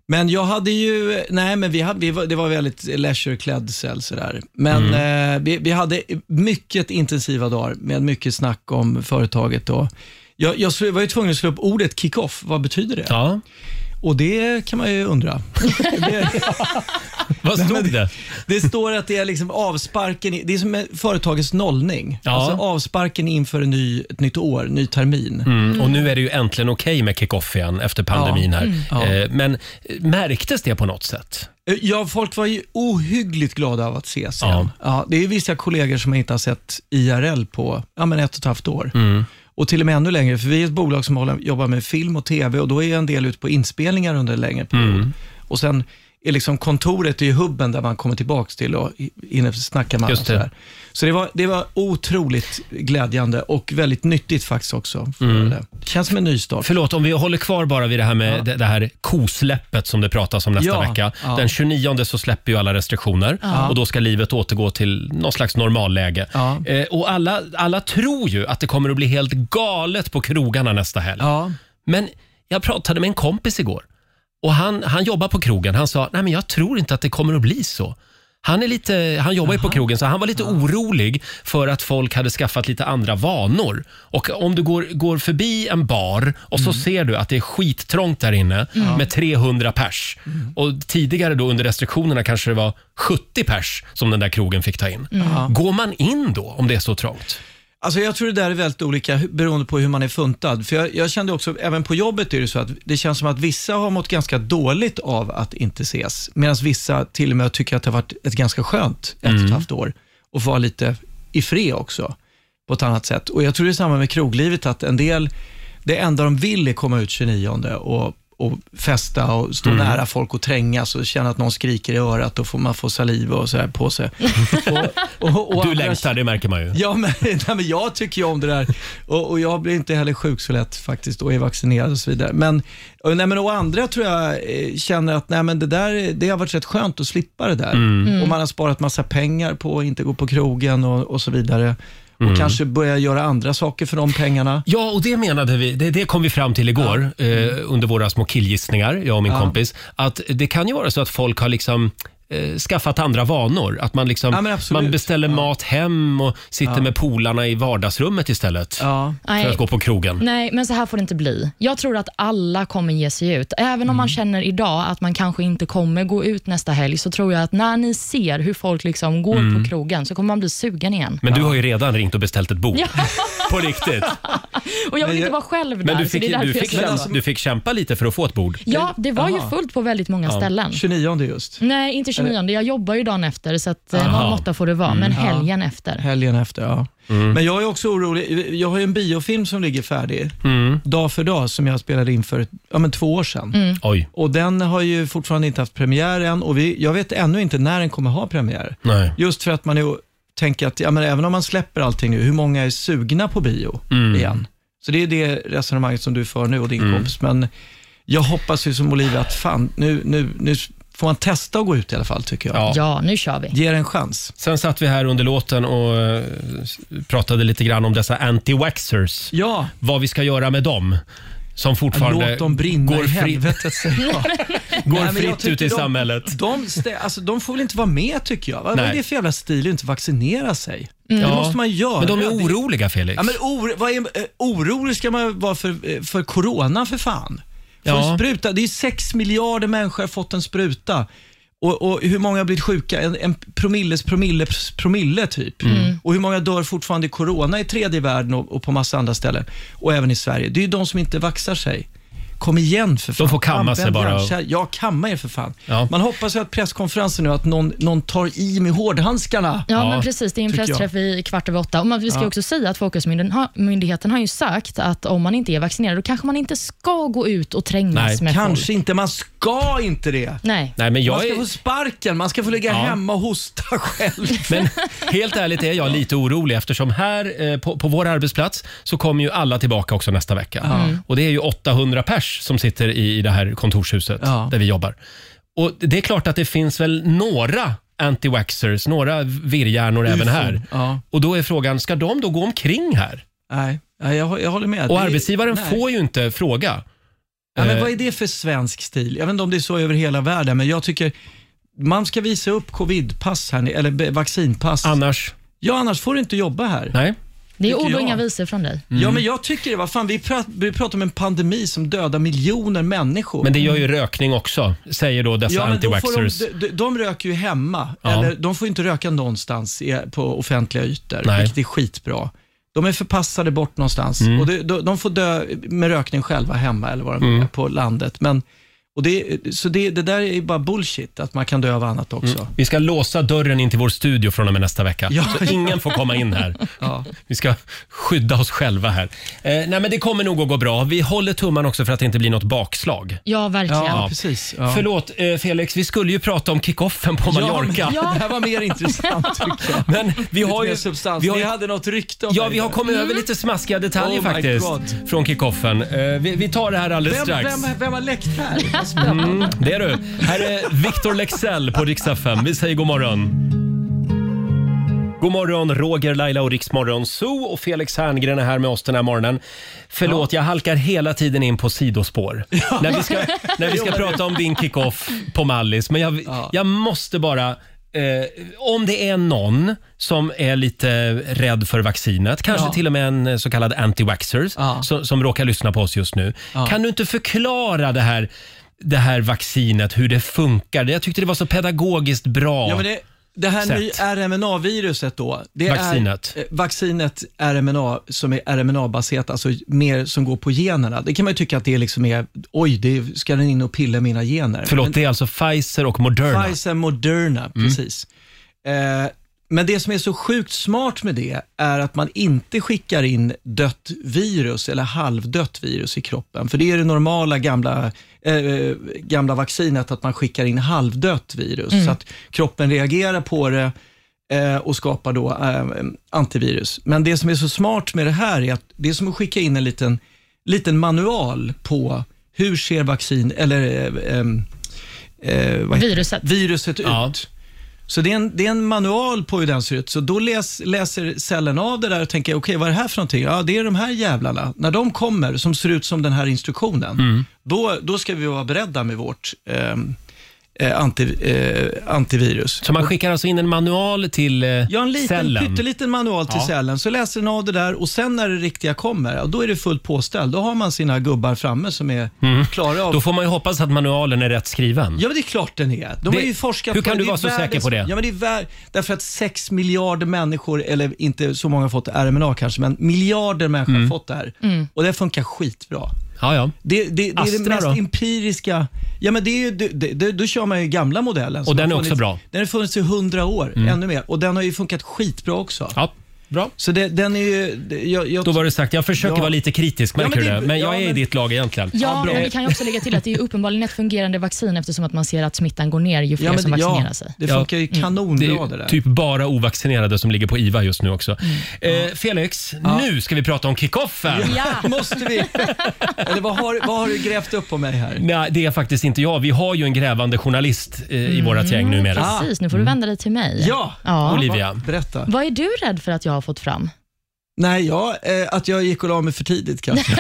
Men jag hade ju, nej men vi hade, vi var, det var väldigt leisure-klädsel sådär. Men
Mm.
eh, vi, vi hade mycket intensiva dagar med mycket snack om företaget då. Jag, jag sl- var ju tvungen att slå upp ordet kick-off, vad betyder det?
Ja.
Och det kan man ju undra.
Vad
Nej,
stod
men-
det?
Det står att det är liksom avsparken, i- det är som företagets nollning.
Ja.
Alltså avsparken inför en ny, ett nytt år, ny termin.
Mm. Och nu är det ju äntligen okej med kick-off igen efter pandemin
Ja.
här.
Mm. Ja.
Eh, Men eh, märktes det på något sätt?
Eh, Ja, folk var ju ohyggligt glada av att ses igen.
Ja.
Ja. det är vissa kollegor som jag inte har sett IRL på ja, men ett och ett halvt år.
Mm.
Och till och med ännu längre, för vi är ett bolag som håller, jobbar med film och tv och då är en del ute på inspelningar under en längre period.
Mm.
Och sen är liksom kontoret är ju hubben där man kommer tillbaka till och i- inne snackar man.
Just
och
det.
sådär. Så det var, det var otroligt glädjande och väldigt nyttigt faktiskt
Mm.
också. får jag säga. Det känns som en nystart.
Förlåt, om vi håller kvar bara vid det här med det, det här kosläppet som det pratas om nästa
Ja,
vecka.
ja.
Den 29 så släpper ju alla restriktioner
Ja.
och då ska livet återgå till någon slags normalläge.
Ja.
Eh, och alla, alla tror ju att det kommer att bli helt galet på krogarna nästa helg.
Ja.
Men jag pratade med en kompis igår och han, han jobbar på krogen. Han sa, nej men jag tror inte att det kommer att bli så. Han, är lite, han jobbar ju på krogen så han var lite orolig för att folk hade skaffat lite andra vanor. Och om du går, går förbi en bar och så ser du att det är skittrångt där inne
Mm.
med 300 pers. Och tidigare då under restriktionerna kanske det var 70 pers som den där krogen fick ta in.
Mm. Ja.
Går man in då om det är så trångt?
Alltså jag tror det där är väldigt olika hu- beroende på hur man är funtad. För jag, jag kände också, även på jobbet är det så att det känns som att vissa har mått ganska dåligt av att inte ses. Medan vissa till och med tycker att det har varit ett ganska skönt ett
Mm.
och ett halvt år. Och få vara lite i fred också på ett annat sätt. Och jag tror det är samma med kroglivet, att en del, det enda de vill är komma ut 29 och, och festa och stå
Mm.
nära folk och trängas och känna att någon skriker i örat och får man får saliv och så här på sig. och, och, och
Du
andra-
längtar, det märker man ju.
Ja, men, nej, men jag tycker ju om det där. Och, och jag blir inte heller sjuk så lätt faktiskt och är vaccinerad och så vidare. Men, och, nej, men, och andra tror jag eh, känner att nej, men det, där, det har varit rätt skönt att slippa det där.
Mm.
Och man har sparat massa pengar på att inte gå på krogen och, och så vidare. Och kanske börja göra andra saker för de pengarna.
Ja, och det menade vi. Det, det kom vi fram till igår eh, under våra små killgissningar, jag och min
Ja.
kompis. Att det kan ju vara så att folk har liksom eh, skaffat andra vanor. Att man, liksom,
Ja, men absolut.
man beställer mat hem och sitter
Ja.
med polarna i vardagsrummet istället.
Ja.
För att gå på krogen.
Nej, men så här får det inte bli. Jag tror att alla kommer ge sig ut. Även om man känner idag att man kanske inte kommer gå ut nästa helg, så tror jag att när ni ser hur folk liksom går på krogen, så kommer man bli sugen igen.
Men du har ju redan ringt och beställt ett bord.
Ja,
På riktigt.
och jag vill
Men
inte
jag-
vara själv där.
Men du
så
fick,
det är därför
du,
jag
fick
säger
kämpa,
så.
du
alltså-
fick kämpa lite för att få ett bord.
Ja, det var ju
Aha.
fullt på väldigt många ställen.
29 just,
Nej, inte 29. Jag jobbar ju dagen efter, så att, eh, någon
Aha.
måtta får det vara. Men helgen efter.
helgen efter. Ja. Men jag är också orolig. Jag har ju en biofilm som ligger färdig, dag för dag, som jag spelade in för ja, men två år sedan.
Mm.
Oj.
Och den har ju fortfarande inte haft premiär än och vi, jag vet ännu inte när den kommer ha premiär.
Nej.
Just för att man ju tänker att ja, men även om man släpper allting nu, hur många är sugna på bio
Mm.
igen? Så det är det resonemanget som du för nu och din kompis. Men jag hoppas ju som Olivia att fan, nu, nu, nu får man testa att gå ut i alla fall tycker jag.
Ja. Ja,
nu kör vi.
Ge det en chans.
Sen satt vi här under låten och eh, s- pratade lite grann om dessa anti-waxers.
Ja.
Vad vi ska göra med dem som fortfarande
Låt dem brinna
går
i
fritt
helvetet säger jag.
Går
men jag
fritt
tycker
ut i
de,
samhället.
De, stä- alltså, de får väl inte vara med tycker jag. Vad vad
Nej.
är det för jävla stil att inte vaccinera sig?
Mm.
Det
Ja.
måste man göra.
Men de är
Det-
oroliga, Felix.
Ja, men or, vad är, eh, orolig ska man vara för, eh, för corona för fan. För
Ja.
en spruta, det är ju sex miljarder människor har fått en spruta. Och, och hur många har blivit sjuka? En, en promilles promille promille typ.
Mm.
Och hur många dör fortfarande i corona i tredje världen och, och på massa andra ställen. Och även i Sverige. Det är ju de som inte vaxar sig. Kom igen för fan.
får kamma
Använd
sig bara.
hjärnkärl- Ja, kamma er för fan.
Ja.
Man hoppas ju att presskonferensen nu, att någon, någon tar i med
Mm.
hårdhandskarna.
Ja, men precis. Det är en
tycker jag.
pressträff i kvart över åtta. Och man, vi ska
Ja.
också säga att Folkhälsomyndigheten har, myndigheten har ju sagt att om man inte är vaccinerad, då kanske man inte ska gå ut och trängas
Nej,
med
kanske
folk.
inte. Man ska inte det.
Nej.
Nej, men
man
jag
ska
är...
få sparken, man ska få ligga
Ja.
hemma och hosta själv.
Men helt ärligt är jag lite orolig eftersom här eh, på, på vår arbetsplats så kommer ju alla tillbaka också nästa vecka.
Mm.
Och det är ju 800 pers som sitter i, i det här kontorshuset
Ja.
där vi jobbar. Och det är klart att det finns väl några anti-waxers, några virrhjärnor även här.
Ja.
Och då är frågan, ska de då gå omkring här?
Nej, nej, jag, hå- jag håller med.
Och
Det-
arbetsgivaren
nej.
får ju inte fråga.
Ja, men
Eh,
vad är det för svensk stil? Jag vet inte om det är så över hela världen, men jag tycker man ska visa upp covidpass här, eller be- vaccinpass.
Annars?
Ja, annars får du inte jobba här.
Nej.
Det är
tycker
ord och
jag.
inga visor från dig.
Ja,
Mm.
men jag tycker det. Vad fan, vi, pra- vi pratar om en pandemi som dödar miljoner människor.
Men det gör ju rökning också, säger då dessa
Ja, men då får
anti-waxers.
de, de, de röker ju hemma.
Ja.
Eller, de får ju inte röka någonstans i, på offentliga ytor,
Nej. Mm.
vilket är skitbra. De är förpassade bort någonstans. Och det, de, de får dö med rökning själva hemma eller vad de
Mm.
är på landet. Men, och det, så det, det där är ju bara bullshit, att man kan dö av annat också.
Vi ska låsa dörren in till vår studio från och med nästa vecka.
Ja.
Så ingen får komma in här.
Ja.
Vi ska skydda oss själva här. Eh, nej, men det kommer nog att gå bra. Vi håller tummarna också för att det inte blir något bakslag.
Ja, verkligen.
Ja,
Ja.
precis. Ja.
Förlåt eh, Felix, vi skulle ju prata om kickoffen på Mallorca.
Ja, men, Det här var mer intressant tycker jag.
Men vi
Lite
har
mer
ju...
substans.
Vi har
Ni
ju
hade något rykte om
Ja,
mig
vi har
där.
kommit över lite smaskiga detaljer
Oh my
faktiskt
God.
från kickoffen. Eh, vi, vi tar det här alldeles
vem,
strax.
vem, vem har läckt här? Vad spännande.
Mm, det är du. Här är Victor Lexell på Rix FM. Vi säger god morgon. God morgon, Roger, Laila och Riksmorgon Zoo och Felix Herngren är här med oss den här morgonen. Förlåt, jag halkar hela tiden in på sidospår. När vi ska, när vi ska prata om din kickoff på Mallis. Men jag,
Ja.
jag måste bara... Eh, om det är någon som är lite rädd för vaccinet, kanske
Ja.
till och med en eh, så kallad anti-waxer
Ja.
som, som råkar lyssna på oss just nu.
Ja.
Kan du inte förklara det här, det här vaccinet, hur det funkar? Jag tyckte det var så pedagogiskt bra.
Ja, men det, det här
sätt.
nya RMNA-viruset då. Det
Vaccinet.
Är, eh, vaccinet RMNA som är RMNA-baserat, alltså mer som går på generna. Det kan man ju tycka att det liksom är, oj, det är, ska den in och pilla i mina gener?
Förlåt, det är alltså Pfizer och Moderna.
Men, Pfizer Moderna, precis. Eh, men det som är så sjukt smart med det är att man inte skickar in dött virus eller halvdött virus i kroppen. För det är det normala gamla, eh, gamla vaccinet, att man skickar in halvdött virus. Så att kroppen reagerar på det eh, och skapar då eh, antivirus. Men det som är så smart med det här är att det är som att skicka in en liten, liten manual på hur ser vaccin, eller eh, ehm, eh, vad heter det?
Viruset.
viruset ut.
Ja.
Så det är, en, det är en manual på hur den ser ut. Så då läs, läser cellen av det där och tänker, okej vad är det här för någonting? Ja, det är de här jävlarna. När de kommer, som ser ut som den här instruktionen,
Mm.
då, då ska vi vara beredda med vårt ehm, eh, anti, eh, antivirus.
Så man skickar alltså in en manual till eh,
Jag har en liten,
cellen?
pytteliten manual till
Ja.
cellen, så läser den av det där och sen när det riktiga kommer, ja, då är det fullt påställd. Då har man sina gubbar framme som är klara av
Mm. Då får man ju hoppas att manualen är rätt skriven.
Ja, men det är klart den är. De
Det-
har ju forskat
hur kan
på det.
du
Det är
vara så säker på det?
Ja, men det är vär, därför att 6 miljarder människor, eller inte så många har fått RMNA kanske, men miljarder människor
Mm.
har fått det här. Och det funkar skitbra.
Ja, ja.
Det, det, det är det
Astra
mest
då?
empiriska. Ja, men det är ju, det, det, det, då kör man ju gamla modellen. som
den
har
är också
funnits-
bra. Mm.
Den har funnits i hundra år, ännu mer. Och den har ju funkat skitbra också.
ja. Bra.
Så det, den är ju... det- Jag, jag,
Då var det sagt. Jag försöker
Ja.
vara lite kritisk, märker
Ja, men
du
det-
det? Men jag
ja,
är i
men-
ditt lag egentligen.
Ja, men vi kan ju också lägga till att det är ju uppenbarligen ett fungerande vaccin eftersom att man ser att smittan går ner ju fler som vaccinerar sig. Mm.
det är ju Typ bara ovaccinerade som ligger på IVA just nu också. Eh, Felix, nu ska vi prata om kickoffen!
Mm. Ja. Måste vi? Eller vad har, vad har du grävt upp på mig här?
Nej, det är faktiskt inte jag. Vi har ju en grävande journalist eh, i vårt gäng numera.
Mm. Ah.
Precis, nu får du vända dig till mig.
Olivia.
Berätta.
Vad är du rädd för att jag har fått fram?
Nej, jag, eh, att jag gick och la mig för tidigt kanske.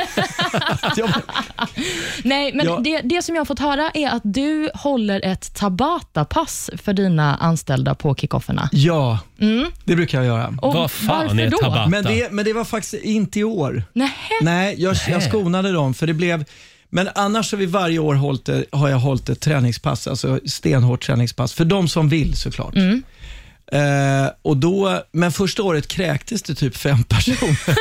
Nej, men
Ja.
det, det som jag har fått höra är att du håller ett Tabata-pass för dina anställda på kickofferna.
ja,
Mm.
det brukar jag göra.
Och Vad fan varför är då? Tabata?
Men det, men det var faktiskt inte i år.
Nej.
Nej, jag,
Nähä.
jag skonade dem för det blev men annars har vi varje år hållit, det- har jag hållit ett träningspass, alltså stenhårt träningspass, för de som vill såklart. Eh, och då, men första året kräktes det typ fem personer.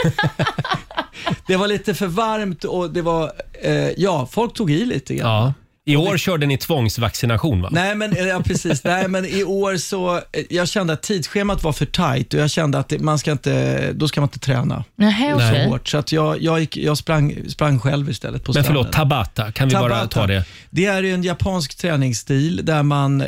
det var lite för varmt och det var, eh, ja, folk tog i lite grann.
Ja. I år körde ni tvångsvaccination va?
Nej men, ja, precis. Nej, men i år så, eh, jag kände att tidsschemat var för tajt och jag kände att det, man ska inte, då ska man inte träna.
Nähä,
så
okej.
hårt. Så att jag, jag, gick, jag sprang, sprang själv istället på
Men
stranden.
förlåt, Tabata, kan vi bara
Tabata.
ta det?
Det är en japansk träningsstil där man, eh,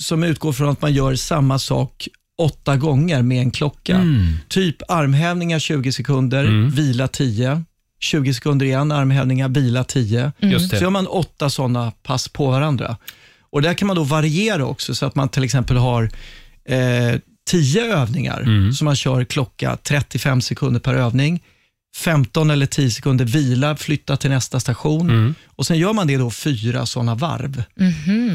som utgår från att man gör samma sak åtta gånger med en klocka.
Mm.
Typ armhävningar 20 sekunder, vila 10. 20 sekunder igen, armhävningar, vila 10.
Just det.
Mm. Så gör man åtta sådana pass på varandra. Och Där kan man då variera också, så att man till exempel har eh, 10 övningar
Mm.
som man kör klocka 35 sekunder per övning. 15 eller 10 sekunder vila, flytta till nästa station.
Mm.
Och Sen gör man det då fyra sådana varv.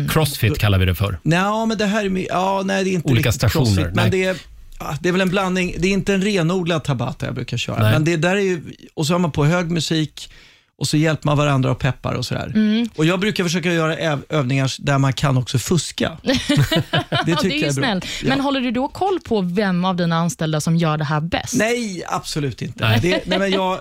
Crossfit kallar vi det för.
Nej, men det här är, my- ja, nej, det är inte
Olika
riktigt crossfit,
stationer, nej.
men det är, ja, det är väl en blandning. Det är inte en renodlad tabata jag brukar köra.
Nej.
Men det där är ju, och så har man på hög musik och så hjälper man varandra och peppar och sådär. Och jag brukar försöka göra äv- övningar där man kan också fuska. det
Ja,
tycker
det är
jag
ju
är bra.
snällt.
Ja.
Men håller du då koll på vem av dina anställda som gör det här bäst?
Nej, absolut inte.
Nej.
Nej. Det, nej, men jag,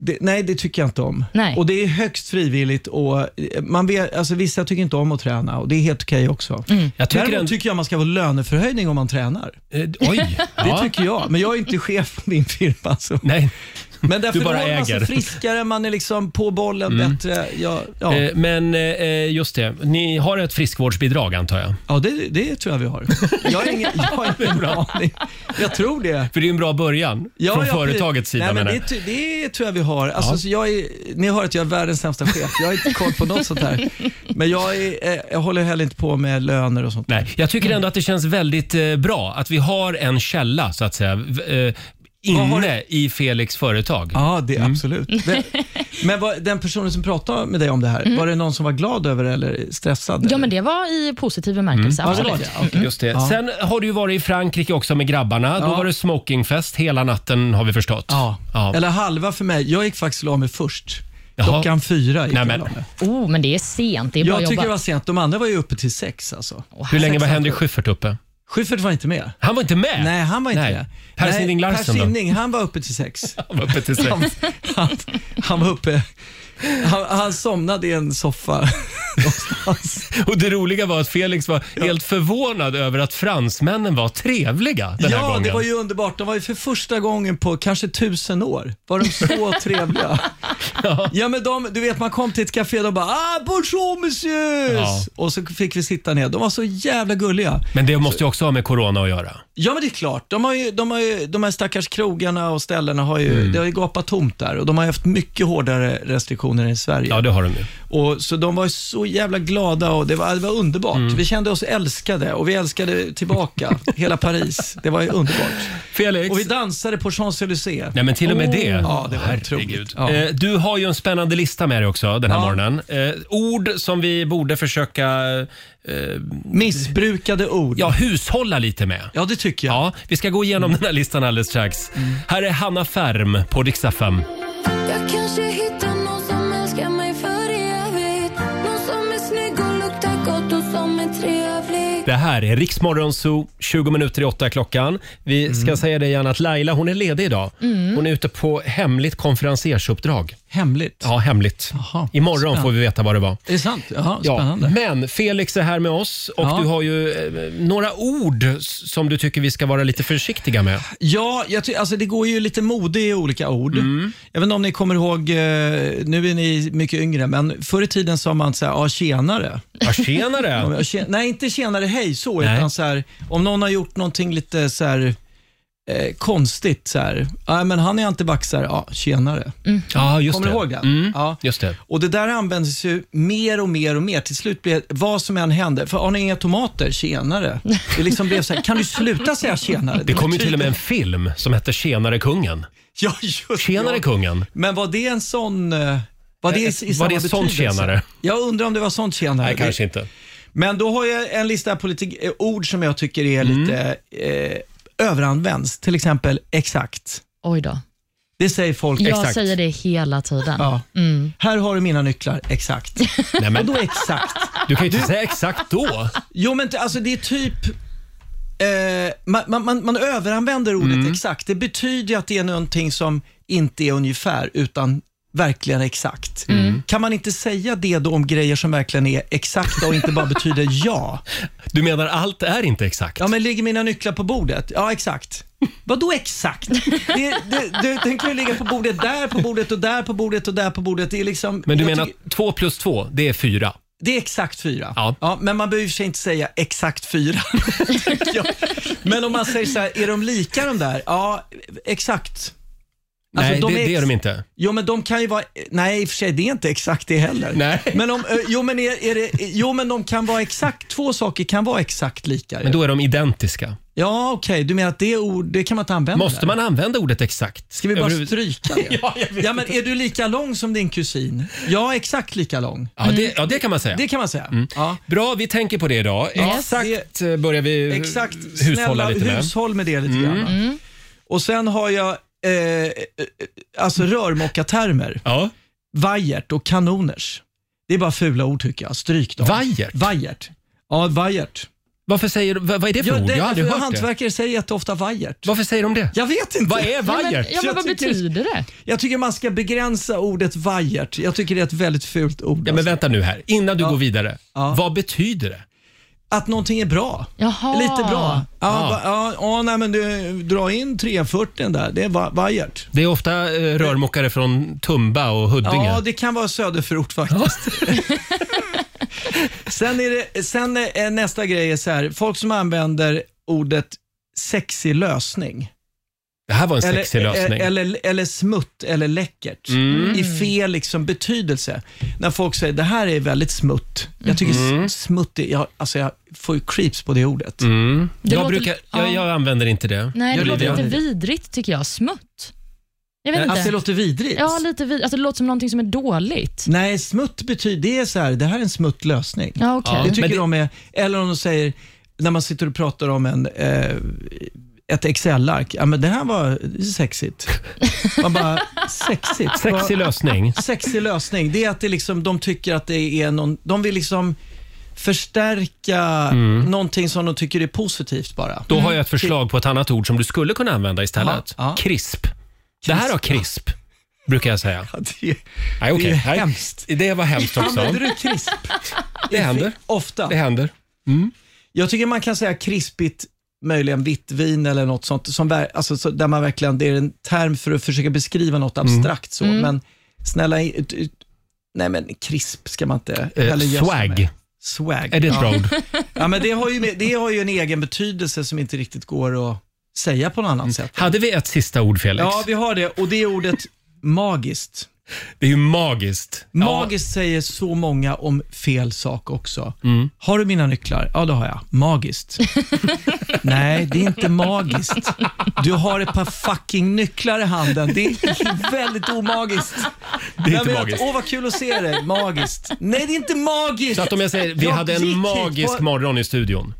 det, nej, det tycker jag inte om.
Nej.
Och Det är högst frivilligt och eh, man vet, alltså, vissa tycker inte om att träna och det är helt okej också.
Jag tycker
Däremot
en-
tycker jag man ska få löneförhöjning om man tränar.
Eh, oj!
Det
Ja.
tycker jag, men jag är inte chef på min firma. Så.
Nej.
Men därför
Du bara
då är man så
äger.
friskare, man är liksom på bollen bättre. Ja, ja.
Eh, Men eh, just det, ni har ett friskvårdsbidrag antar jag?
ja det, det tror jag vi har. Jag har ingen, jag har ingen aning. Jag tror det.
För det är ju en bra början
Ja,
från
ja, precis.
företagets sida
Nej, men
menar
det,
jag.
ty- det tror jag vi har. Alltså,
Ja.
så jag är, ni hör att jag är världens sämsta chef. Jag har inte koll på något sånt här. Men jag, är, eh, jag håller heller inte på med löner och sånt.
Nej, jag tycker ändå att det känns väldigt eh, bra att vi har en källa så att säga v- eh,
Vad har
inne i Felix företag.
Ja, det absolut. Det, men vad, den personen som pratade med dig om det här, var det någon som var glad över det eller stressad?
Mm. Ja,
eller?
men det var i positiv bemärkelse.
Mm. Ja, det var
absolut.
det. Okej.
Just det. Sen har du ju varit i Frankrike också med grabbarna. Då
Ja.
var det smokingfest hela natten har vi förstått.
Ja.
Ja.
eller halva för mig. Jag gick faktiskt och la mig först.
Jaha.
Klockan fyra gick
Nej,
jag
men.
och la mig.
Oh, men det är sent. Det är bra
Jag tycker
jobbat.
det var sent. De andra var ju uppe till sex alltså.
Hur länge var
Sex,
Henrik
sju.
Schyffert uppe?
Schyffert var inte med.
Han var inte med?
Nej, han var inte
Nej.
med.
Per
Nej,
Sinding Larsson
Per
då?
Sinding, han var uppe till sex.
Han var uppe till sex.
Han, han, han var uppe. Han, han somnade i en soffa någonstans.
Och det roliga var att Felix var helt förvånad över att fransmännen var trevliga den här
ja,
gången.
det var ju underbart. De var ju för första gången på kanske tusen år. Var de så trevliga?
Ja.
Ja, men de, du vet, man kom till ett café och de bara ah, “Bonjour monsieur!”
Ja.
Och så fick vi sitta ner. De var så jävla gulliga.
Men det måste ju också ha med corona att göra.
Ja, men det är klart. De, har ju, de, har ju, de här stackars krogarna och ställena har ju, Eh, det har ju gapat tomt där och de har ju haft mycket hårdare restriktioner än i Sverige.
Ja, det har de ju.
Och, så de var ju så jävla glada och det var, det var underbart.
Mm.
Vi kände oss älskade och vi älskade tillbaka hela Paris. Det var ju underbart.
Felix.
Och vi dansade på Champs-Élysées.
Nej men till och med det.
Ja, det var otroligt. Ja.
Eh, Du har ju en spännande lista med dig också den här
Ja.
morgonen. Eh, ord som vi borde försöka eh,
Missbrukade ord.
ja, hushålla lite med.
Ja, det tycker jag.
Ja, vi ska gå igenom
Mm.
den här listan alldeles strax. Här är Hanna Färm på Dix FM.
Jag kanske hittar någon som älskar mig för evigt Någon som är snygg och luktar gott och som är trevlig
Det här är Riksmorgon Zoo, 20 minuter i åtta är klockan. Vi ska
Mm.
säga det igen att Laila hon är ledig idag.
Mm.
Hon är ute på hemligt konferensersuppdrag.
Hemligt?
Ja, hemligt. Imorgon
spännande.
får vi veta vad det var.
Är det sant? Jaha,
Ja,
spännande.
men Felix är här med oss och
Ja.
du har ju eh, några ord s- som du tycker vi ska vara lite försiktiga med.
Ja, jag ty- alltså det går ju lite mode i olika ord.
Mm.
Jag vet inte om ni kommer ihåg, eh, nu är ni mycket yngre, men förr i tiden sa man så här, ja tjenare.
Ja, tjenare.
Ja, men tje- nej, inte tjenare hej så,
Nej.
utan så här, om någon har gjort någonting lite så här, eh, konstigt. Så här. "Ja, men han är antivaxxare, ja tjenare.
Ja, just
kommer
det.
du ihåg den?
Mm,
Ja.
Just det.
Och det där används ju mer och mer och mer. Till slut blir det, vad som än händer, för har ni inga tomater, tjenare. Det liksom blev så här, kan du sluta säga tjenare?
Det kom ju till och med en film som hette Tjenare kungen.
Ja, just
Tjenare
ja.
kungen.
Men var det en sån... eh, Var det, i, i
Var
samma
det sånt
betydelse?
tjenare?
Jag undrar om det var sånt tjenare.
Nej, kanske inte.
Men då har jag en lista på lite eh, ord som jag tycker är
Mm.
lite eh, överanvänds. Till exempel exakt.
Oj då.
Det säger folk.
Jag säger det hela tiden.
Ja.
Mm.
Här har du mina nycklar, exakt.
Nej, men-
Vadå exakt?
Du kan ju inte säga exakt då.
Jo, men t- alltså det är typ... Eh, man, man, man, man överanvänder ordet
Mm.
exakt. Det betyder ju att det är någonting som inte är ungefär, utan verkligen exakt.
Mm.
Kan man inte säga det då om grejer som verkligen är exakta och inte bara betyder ja?
Du menar allt är inte exakt?
Ja, men ligger mina nycklar på bordet? Ja, exakt. Vad då exakt? Det, det, det, den kan ju ligga på bordet där, på bordet och där, på bordet och där, på bordet. Det är liksom...
Men du
jag
menar
tycker- Alltså,
att två plus två, det är fyra?
Det är exakt fyra.
Ja.
men man behöver i och för sig inte säga exakt fyra. tycker jag. Men om man säger så här, är de lika de där? Ja, exakt. Alltså,
Nej,
de
det,
är ex-
det är de inte.
Jo, men de kan ju vara... Nej, i och för sig, det är inte exakt det heller.
Nej.
Men om, eh, jo, men är, är det, jo, men de kan vara exakt... Två saker kan vara exakt lika.
Men då är de identiska.
Ja, okej. Du menar att det ord, det kan man inte använda?
Måste man använda ordet exakt?
Ska vi bara
Överhuvud-
stryka det?
Ja, jag vet
ja, men är du lika lång som din kusin? Ja, exakt lika lång.
Ja, det, ja, det kan man säga.
Mm. Det kan man säga.
Mm.
Ja.
Bra, vi tänker på det idag.
Ja,
Exakt eh, börjar vi eh,
Exakt,
hushålla
snälla
lite med. Mm.
hushåll med det lite grann. Och sen har jag eh, eh, alltså rörmokartermer,
Ja.
vajert och kanoners. Det är bara fula ord tycker jag, stryk dem.
Vajert?
Vajert. Ja, vajert.
Varför säger Vad vad är det för
Ja,
ord?
det-
Jag har aldrig
för
hört det.
Hantverkare säger jätteofta vajert.
Varför säger de det?
Jag vet inte.
Vad är
Ja, men,
vajert?
ja, men vad
Jag tycker-
betyder det?
Jag tycker man ska begränsa ordet vajert. Jag tycker det är ett väldigt fult ord.
Ja, men
alltså.
vänta nu här, innan du
Ja.
går vidare.
Ja.
Vad betyder det?
Att någonting är bra.
Jaha.
Lite bra.
Ja.
Ja, va- ja, ja, nej, men du, dra in 340 där. Det är va- vajert.
Det är ofta eh, rörmokare från Tumba och Huddinge.
Ja, det kan vara söderförort faktiskt. sen är det, sen är nästa grej är så här, folk som använder ordet sexig lösning.
Det här var en sexig lösning.
Eller, e- eller, eller smutt eller läckert.
Mm.
I fel liksom betydelse. När folk säger det här är väldigt smutt. Jag tycker mm. smutt, är- jag, alltså jag får ju creeps på det ordet.
Mm.
Det
Jag,
låter-
brukar, jag,
ja.
jag använder inte det.
Nej, det
Jag
låter
lider.
lite vidrigt tycker jag. Smutt. Jag vet
Alltså det
inte.
låter vidrigt.
Ja, lite vid... alltså, det låter som någonting som är dåligt.
Nej, smutt betyder, det är så här, det här är en smutt lösning.
Ja, okej.
Det tycker
Men det-
de är, eller om de säger, när man sitter och pratar om en, eh, ett Excel-ark, ja men det här var sexigt. Man bara, sexigt?
Alltså-
Sexig
Vad-
lösning.
sexig lösning, det är att det liksom, de tycker att det är någon, de vill liksom förstärka någonting som de tycker är positivt bara.
Då har jag ett förslag på ett annat ord som du skulle kunna använda istället.
Ja, ja.
Krisp. Det här har krisp, brukar jag säga.
Ja, det,
Nej,
det är
okej. Nej.
hemskt.
Det var hemskt också.
Använder du krisp?
Det händer.
Ofta.
Det händer.
Jag tycker man kan säga krispigt, möjligen vitt vin eller något sånt, som, ver- alltså, så, där man verkligen, det är en term för att försöka beskriva något
Mm.
abstrakt så, men snälla, ut, ut, nej men krisp ska man inte
Eh,
heller göra sig
swag.
med. Swag.
Är det ett bra ord?
Ja, men det, har ju, med- det har ju en egen betydelse som inte riktigt går att säga på något
Mm.
annat sätt.
Hade vi ett sista ord, Felix?
Ja, vi har det och det är ordet magiskt.
Det är ju magiskt.
Magiskt säger så många om fel sak också.
Mm.
Har du mina nycklar? Ja, det har jag. Magiskt. Nej, det är inte magiskt. Du har ett par fucking nycklar i handen. Det är väldigt omagiskt.
Ja, det är
Jag
inte
menar,
magiskt.
Åh, vad kul att se dig. Magiskt. Nej, det är inte magiskt.
Så att om jag säger vi
Jag
hade
gick
en
hit
magisk
på-
morgon i studion.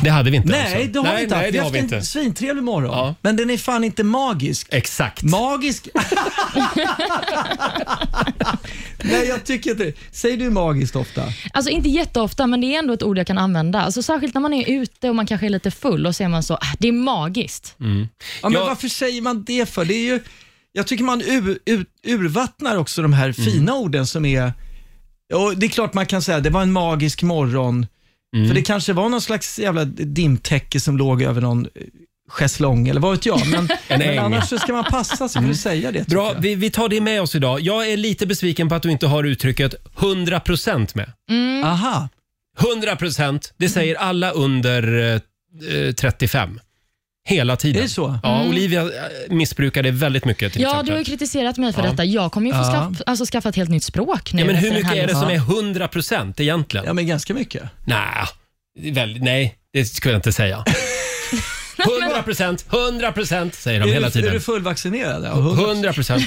Det hade vi inte
Nej,
alltså.
det har vi
Nej,
inte
nej,
haft.
det
Vi
har
har
vi
haft en
inte.
svintrevlig morgon, men den är fan inte magisk.
Exakt.
Magisk? Nej, jag tycker inte Säger du magiskt ofta?
Alltså inte jätteofta, men det är ändå ett ord jag kan använda. Alltså, särskilt när man är ute och man kanske är lite full och så är man så, "Ah, det är magiskt.
Mm,
Ja, men Varför säger man det för? Det är ju, jag tycker man ur, ur, urvattnar också de här
Mm.
fina orden som är... Och det är klart man kan säga det var en magisk morgon,
Mm.
för det kanske var någon slags jävla dimtäcke som låg över någon eh, schäslong eller vad vet jag. Men,
En äng. Mm.
men annars så ska man passa sig för att säga det.
Bra, vi, vi tar det med oss idag. Jag är lite besviken på att du inte har uttrycket 100% med.
Aha.
100%, det säger alla under eh, eh, 35. Hela tiden.
Är det så? Mm.
Ja, Olivia eh, missbrukar det väldigt mycket till
Ja,
exempel.
du har ju kritiserat mig för
Ja.
detta. Jag kommer ju få
Ja.
skaff, alltså, skaffa ett helt nytt språk nu.
Ja, men hur
efter den
mycket
här liksom.
är det
listan.
som är 100% egentligen?
Ja, men ganska mycket.
Nej, det är väldigt, nej, det skulle jag inte säga. 100%, 100% säger de
är,
hela
du, är
tiden.
du fullvaccinerad? Ja,
100%.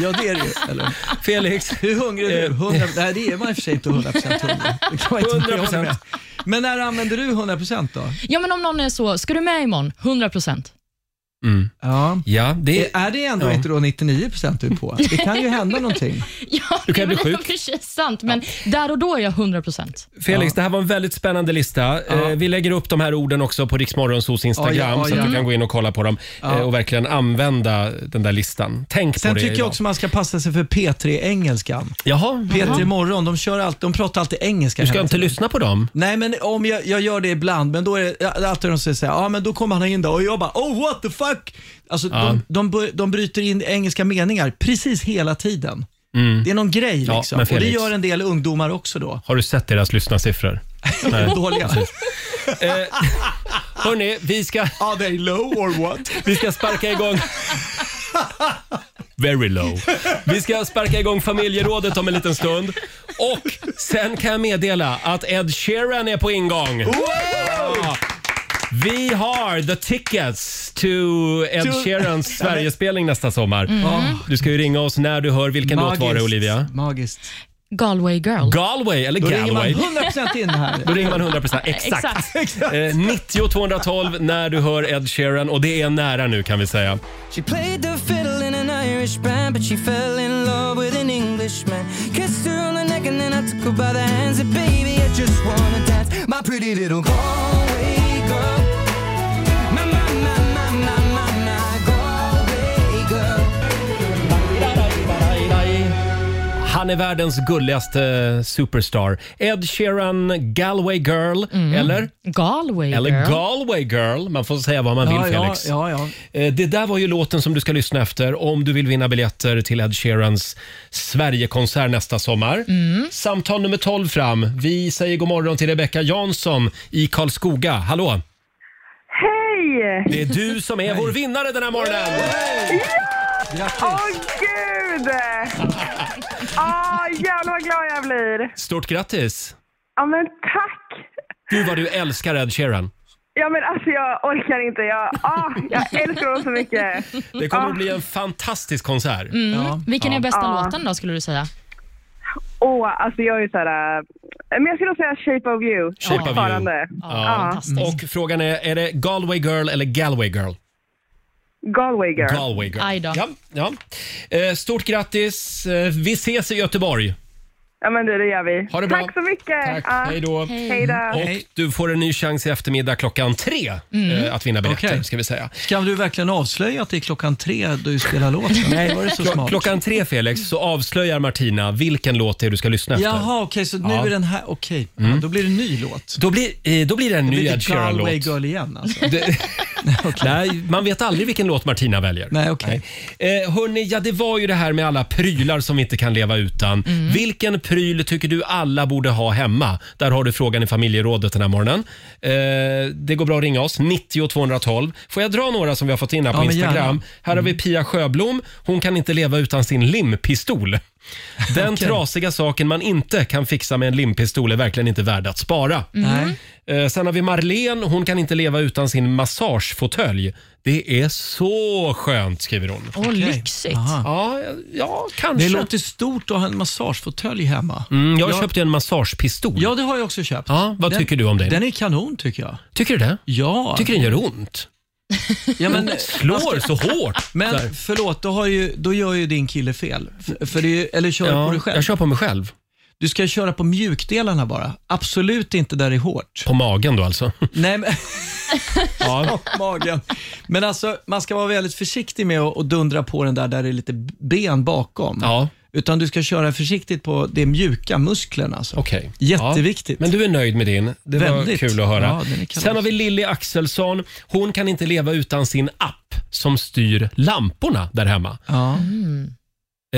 ja, det är du ju. Eller?
Felix,
Hur hungrig
Eh.
är du? 100, nej, det är man i och för sig inte 100 procent hungrig. Det kan man inte bli av
100%.
med. Men när använder du 100 procent då?
Ja, men om någon är så, ska du med imorgon? 100 procent.
Mm.
Ja.
Ja, det,
Är det ändå
Ja.
inte då 99 procent du är på? Det kan ju hända någonting.
Ja,
Du kan ju bli
det är väl i
sjuk.
och för sig sant, men där och då är jag 100 procent.
Felix, det här var en väldigt spännande lista. Eh, Vi lägger upp de här orden också på Riksmorgonsos Instagram
Ja, Mm. ja, ja,
så att du
ja.
kan gå in och kolla på dem eh, och verkligen använda den där listan. Tänk
Sen
på det
tycker jag
idag.
också man ska passa sig för P3-engelskan.
Jaha,
P3 Morgon, de, kör alltid, de pratar alltid engelska.
du ska
hela
inte
tiden.
lyssna på dem.
Nej, men om jag, jag gör det ibland, men då är det alltid de säger såhär, ja men då kommer han in då och jag bara, oh what the fuck. Alltså de, de, bör- de bryter in engelska meningar precis hela tiden. Det är någon grej
Mm. Ja,
liksom.
men
och det
Felix-
gör en del ungdomar också då.
Har du sett deras lyssnarsiffror? Nej.
Dåliga. Ah.
Hörni, vi ska,
Are they low or what?
vi ska sparka igång... Very low. Vi ska sparka igång familjerådet om en liten stund. Och sen kan jag meddela att Ed Sheeran är på ingång. Ja. Vi har the tickets to Ed
To- Mm.
Sheerans Sverigespelning nästa sommar. Du ska ju ringa oss när du hör. Vilken låt var det Olivia?
Magiskt.
Galway girl.
Galway eller
Då
Galway?
ringer man 100% in
Då
här.
ringer man 100%. Exakt.
Exakt.
Eh, 90 212 när du hör Ed Sheeran och det är nära nu kan vi säga.
She played the fiddle in an Irish band, but she Mm. fell in love with an Englishman. Kissed her on the neck and then I took her by the hands. And baby, I just wanna dance, my pretty little Galway girl. My, my, my, my, my, my, my Galway girl.
Han är världens gulligaste superstar. Ed Sheeran, Galway Girl,
Mm.
eller?
Galway
Eller
girl.
Galway Girl. Man får säga vad man
Ja,
vill,
ja,
Felix.
ja, ja.
Eh, Det där var ju låten som du ska lyssna efter om du vill vinna biljetter till Ed Sheerans Sverigekonsert nästa sommar.
Mm.
Samtal nummer 12 fram. Vi säger god morgon till Rebecca Jansson i Karlskoga. Hallå!
Hej!
Det är du som är vår vinnare den här morgonen!
Åh
Grattis.
gud! Åh jävlar vad glad jag blir.
Stort grattis!
Ja men tack!
Gud vad du älskar Ed Sheeran.
Ja men alltså jag orkar inte. Jag, ah, jag älskar honom så mycket.
Det kommer att bli en fantastisk konsert.
Ja.
Vilken är bästa
Ja.
låten då, skulle du säga?
Åh, alltså jag är såhär... äh, Men jag skulle nog säga Shape of You.
Shape of You.
Fortfarande.
Ja,
Ja.
fantastisk.
Och frågan är, är det Galway Girl eller Galway Girl?
Galway Girl.
Galway Girl.
Aj då.
Ja, ja. Eh, Stort grattis! Eh, Vi ses i Göteborg.
Ja men du, det gör vi.
Ha det bra.
Tack så mycket!
Tack,
Ja.
hej då.
Hej då.
Och du får en ny chans i eftermiddag klockan tre eh, att vinna biljetter,
Okej.
ska vi säga.
Kan du verkligen avslöja att det är klockan tre du spelar låten? Nej, var det så smart?
Klockan tre, Felix, så avslöjar Martina vilken låt det är du ska lyssna efter.
Jaha, okej, så nu
Ja.
är den här, okej. Ja, då blir det en ny låt.
Då blir, eh, då blir det en ny
blir
Ed
det Galway
Sheeran-låt.
Girl igen alltså.
Det- Nej, man vet aldrig vilken låt Martina väljer.
Nej, okej.
Eh, hörni, ja, det var ju det här med alla prylar som vi inte kan leva utan.
Mm.
Vilken pryl tycker du alla borde ha hemma? Där har du frågan i familjerådet den här morgonen. Eh, det går bra att ringa oss, 90 212. Får jag dra några som vi har fått in här på
Ja, men
Instagram?
gärna. Mm.
Här har vi Pia Sjöblom. Hon kan inte leva utan sin limpistol. Den
Okej.
trasiga saken man inte kan fixa med en limpistol är verkligen inte värd att spara.
Nej.
Eh, Sen har vi Marlene. Hon kan inte leva utan sin massagefåtölj. Det är så skönt, skriver hon.
Åh, lyxigt.
Ja, ja, kanske.
Det låter stort att ha en massagefåtölj hemma.
Mm, jag köpte en massagepistol.
Ja, det har jag också köpt.
Ja, vad tycker du om det?
Den är kanon tycker jag.
Tycker du det?
Ja.
Tycker den gör ont?
Ja, men,
Slår så hårt.
men
Där.
förlåt, då, har ju, då gör ju din kille fel. För, för det är ju, eller kör
Ja,
på dig själv.
Jag kör på mig själv.
Du ska köra på mjukdelarna bara. Absolut inte där det är hårt.
På magen då alltså.
Nej, men...
Ja.
magen. Men alltså, man ska vara väldigt försiktig med att, att dundra på den där, där det är lite ben bakom.
Ja.
Utan du ska köra försiktigt på de mjuka musklerna. Alltså.
Okej.
Jätteviktigt.
Ja. Men du är nöjd med din. Det var
Väldigt.
kul att höra.
Ja, den är kalas.
Sen har vi Lilly Axelsson. Hon kan inte leva utan sin app som styr lamporna där hemma.
Ja.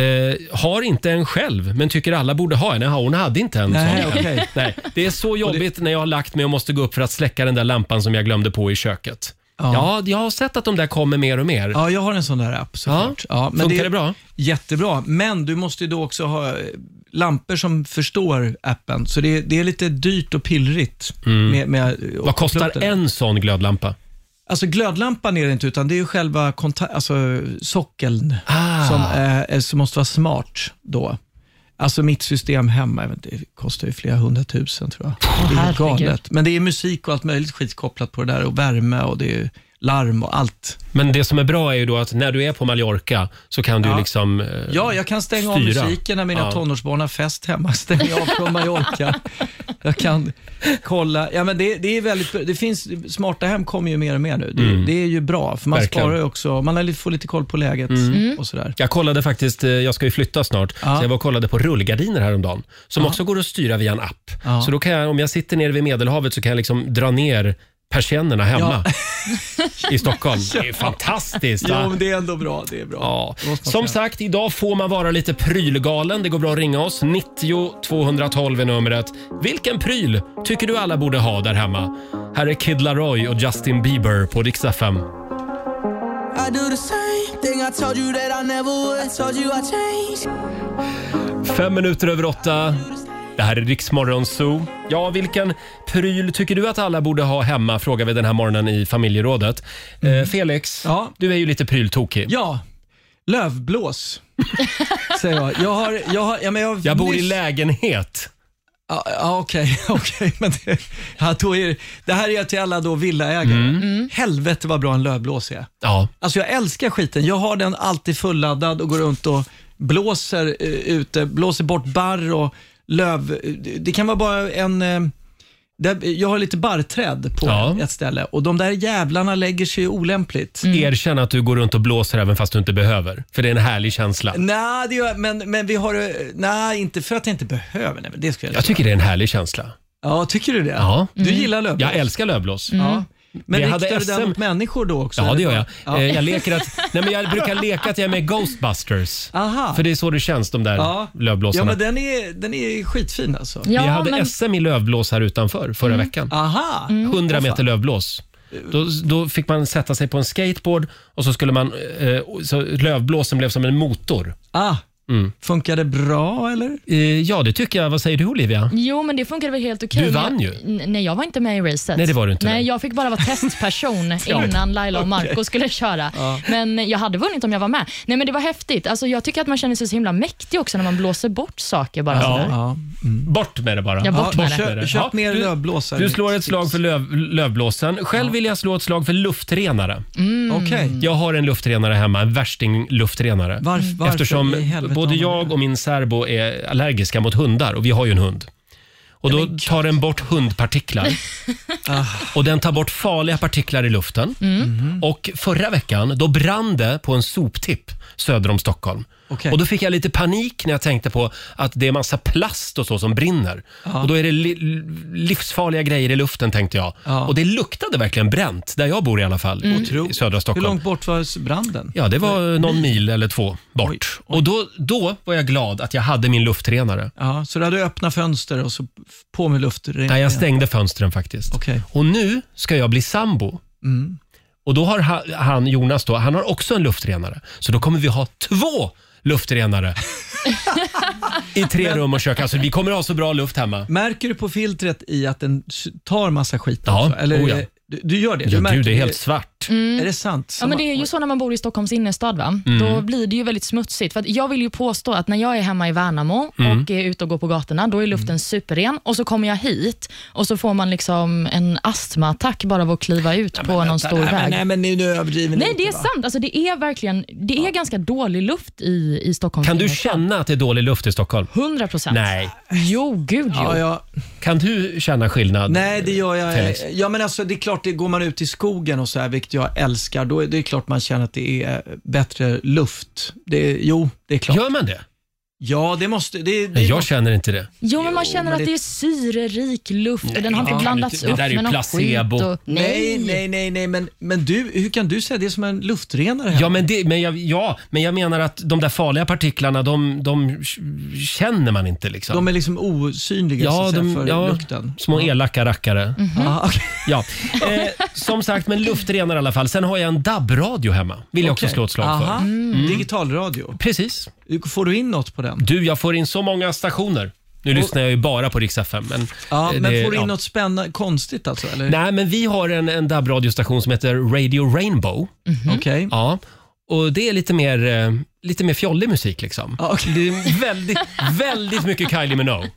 Eh, har inte en själv, men tycker alla borde ha en. Jaha, hon hade inte en
Nej,
sån.
okej.
Nej, det är så jobbigt när jag har lagt mig och måste gå upp för att släcka den där lampan som jag glömde på i köket. Ja,
Ja.
jag har sett att de där kommer mer och mer.
Ja, jag har en sån där app såklart. Ja. men
Funkar det bra?
Jättebra, men du måste ju då också ha eh, lampor som förstår appen. Så det, det är lite dyrt och pillrigt. Med, med,
Mm. Vad kostar en sån glödlampa?
Alltså glödlampan är det inte, utan det är ju själva konta- alltså, sockeln
Ah.
som, eh, som måste vara smart då. Alltså mitt system hemma, jag vet inte, det kostar ju flera hundratusen tror jag. det är ju
herregud.
galet. Men det är musik och allt möjligt skit kopplat på det där och värme och det är ju larm och allt.
Men det som är bra är ju då att när du är på Mallorca så kan du
Ja.
liksom... eh,
Ja, jag kan stänga
Styra.
av musiken när mina
Ja.
tonårsbarn har fest hemma. Stänger jag av från Mallorca. Jag kan kolla. Ja, men det, det är väldigt, det finns, smarta hem kommer ju mer och mer nu. Det, det är ju bra, för man
Mm. Verkligen. Mm.
sparar ju också. Man har lite- får lite koll på läget och sådär.
Jag kollade faktiskt, eh, jag ska ju flytta snart,
Ja.
så jag var och kollade på rullgardiner häromdagen som också går att styra via en app.
Ja.
Så då kan jag, om jag sitter nere vid Medelhavet så kan jag liksom dra ner persiennerna hemma i Stockholm. Det är ju fantastiskt.
Jo,
Va?
men det är ändå bra. Det är bra.
Ja.
Det måste man
Som
säga.
sagt, idag får man vara lite prylgalen. Det går bra att ringa oss. 90 212 är numret. Vilken pryl tycker du alla borde ha där hemma? Här är Kid Laroi och Justin Bieber på Rix FM.
I do the same thing I told you that I never would. I told you I changed.
Fem minuter över åtta. Det här är Riksmorgon Zoo. Ja, vilken pryl tycker du att alla borde ha hemma? Frågar vi den här morgonen i familjerådet. Eh, Felix,
Ja.
du är ju lite pryltokig.
Ja, lövblås. Säger jag. Jag, har, jag, har, ja, men jag, har
Jag bor i
nyss-
lägenhet.
Ja, ja, Okej, okej. men det, ja, då är, det- det här är jag till alla då villaägare.
Mm.
Helvete vad bra en lövblås är.
Ja.
Alltså jag älskar skiten. Jag har den alltid fulladdad och går runt och blåser eh, ute, blåser bort barr och löv. Det- Det kan vara bara en... eh, där- Jag har lite barrträd på
Ja.
ett ställe och de där jävlarna lägger sig ju olämpligt.
Erkänn att du går runt och blåser även fast du inte behöver. För det är en härlig känsla.
Nej, det gör, men, men vi har... eh, Nej, inte för att jag inte behöver. Nej, men det ska jag,
Jag tycker det är en härlig känsla.
Ja, tycker du det?
Ja.
Du gillar lövblås?
Jag älskar lövblås.
Ja. Men
Vi
riktar
hade
du
SM
den mot människor då också?
Ja, det gör jag.
Ja.
Eh, Jag, leker att, nej, men jag brukar leka att jag är med i Ghostbusters.
Aha.
För det är så det känns, de där
Ja. Ja,
lövblåsarna.
men den är, den är skitfin alltså.
Vi
Ja,
hade
men Mm.
SM i lövblås här utanför förra veckan.
Aha!
100 meter lövblås. Då, då fick man sätta sig på en skateboard och så skulle man... Eh, så lövblåsen blev som en motor. Mm.
Ah. Funkar det bra eller?
Eh, ja, det tycker jag. Vad säger du Olivia?
Jo, men det funkade väl helt okej.
Du vann ju.
N- Nej, jag var inte med i racet.
Nej, det var du inte,
Nej,
nej.
jag fick bara vara testperson innan Laila och Marco skulle köra. Men jag hade vunnit om jag var med. Nej, men det var häftigt. Alltså, jag tycker att man känner sig så himla mäktig också när man blåser bort saker bara sådär.
Ja.
Bort med det bara.
Ja, bort med det.
Köp, köp
Ja,
mer
du-
lövblåsare.
Du slår ett slag för löv, lövblåsen. Själv vill jag slå ett slag för luftrenare.
Mm. Okej.
Jag har en luftrenare hemma, en värsting luftrenare.
Varf- varför i
Eftersom
helvete
både
har man
jag
det?
och min särbo är allergiska mot hundar och vi har ju en hund. Och då tar den bort hundpartiklar.
Ah.
och den tar bort farliga partiklar i luften.
Mm.
Och förra veckan, då brann det på en soptipp söder om Stockholm.
Okej.
Och då fick jag lite panik när jag tänkte på att det är massa plast och så som brinner. Och då är det li- livsfarliga grejer i luften tänkte jag.
Ja.
Och det luktade verkligen bränt, där jag bor i alla fall, i- i
Otroligt.
södra
Hur
Stockholm.
långt bort var branden?
Ja, det var någon mil eller två bort.
Oj,
Och då, då var jag glad att jag hade min luftrenare.
Ja, så du hade öppna fönster och så på med luft.
Nej, jag stängde fönstren faktiskt.
Okej.
Och nu ska jag bli sambo.
Mm.
Och då har ha- han, Jonas, då, han har också en luftrenare. Så då kommer vi ha två luftrenare. I tre rum och kök. Alltså, vi kommer ha så bra luft hemma.
Märker du på filtret i att den s- tar massa skit
Ja,
också? Eller,
oh ja.
du, du gör det?
Ja,
du
gud,
märker
det är helt svart.
Mm.
Är det sant?
Ja, men det är ju så när man bor i Stockholms innerstad. Va?
Mm.
Då blir det ju väldigt smutsigt. För att jag vill ju påstå att när jag är hemma i Värnamo
Mm.
och är ute och går på gatorna, då är luften
Mm.
superren. Och så kommer jag hit och så får man liksom en astmaattack bara av att kliva ut på någon stor
nej,
väg.
Men, nej, men nu, nu överdriver ni
Nej, det är
lite, va?
sant. Alltså, det är verkligen det är ganska dålig luft i, i Stockholms
Kan du
Mm.
innerstad.
känna att det är dålig luft i Stockholm?
100 procent.
Nej.
Jo, gud jo.
Ja, ja.
Kan du känna skillnad?
Nej, det gör jag.
Felix?
Ja, men alltså, det är klart, det går man ut i skogen och så här, vilket jag älskar, då är det är klart man känner att det är bättre luft. Det, jo, det är klart.
Gör man det?
Ja, det måste... Det, det
Nej, jag känner inte det.
Jo, men man känner
men
att
det-
det är syrerik luft och den har inte
Ja,
blandats
det- det
upp
där är ju
med någon
placebo.
skit. Och...
Nej, nej, nej, nej, men, men du, hur kan du säga det är som en luftrenare? här?
Ja men, det, men jag, ja, men jag menar att de där farliga partiklarna, de, de k- känner man inte liksom.
De är liksom osynliga så
ja,
att säga,
de,
för
ja,
lukten.
Små elaka rackare.
Mhm. Ja, okej.
Ja. Eh, som sagt, men luftrenare i alla fall. Sen har jag en DAB-radio hemma. Vill jag också
Okej.
slå ett slag
Aha.
för.
Mm. Digitalradio.
Precis.
Får du in något på den?
Du, jag får in så många stationer. Nu lyssnar jag ju bara på Rix FM. Men,
Ja,
eh,
men
det-
får du in
ja.
något spännande, konstigt alltså? Eller?
Nej, men vi har en, en DAB-radiostation som heter Radio Rainbow.
Okej.
Ja, och det är lite mer, eh, lite mer fjollig musik liksom.
Ja, okej.
Det är väldigt, väldigt mycket Kylie Minogue.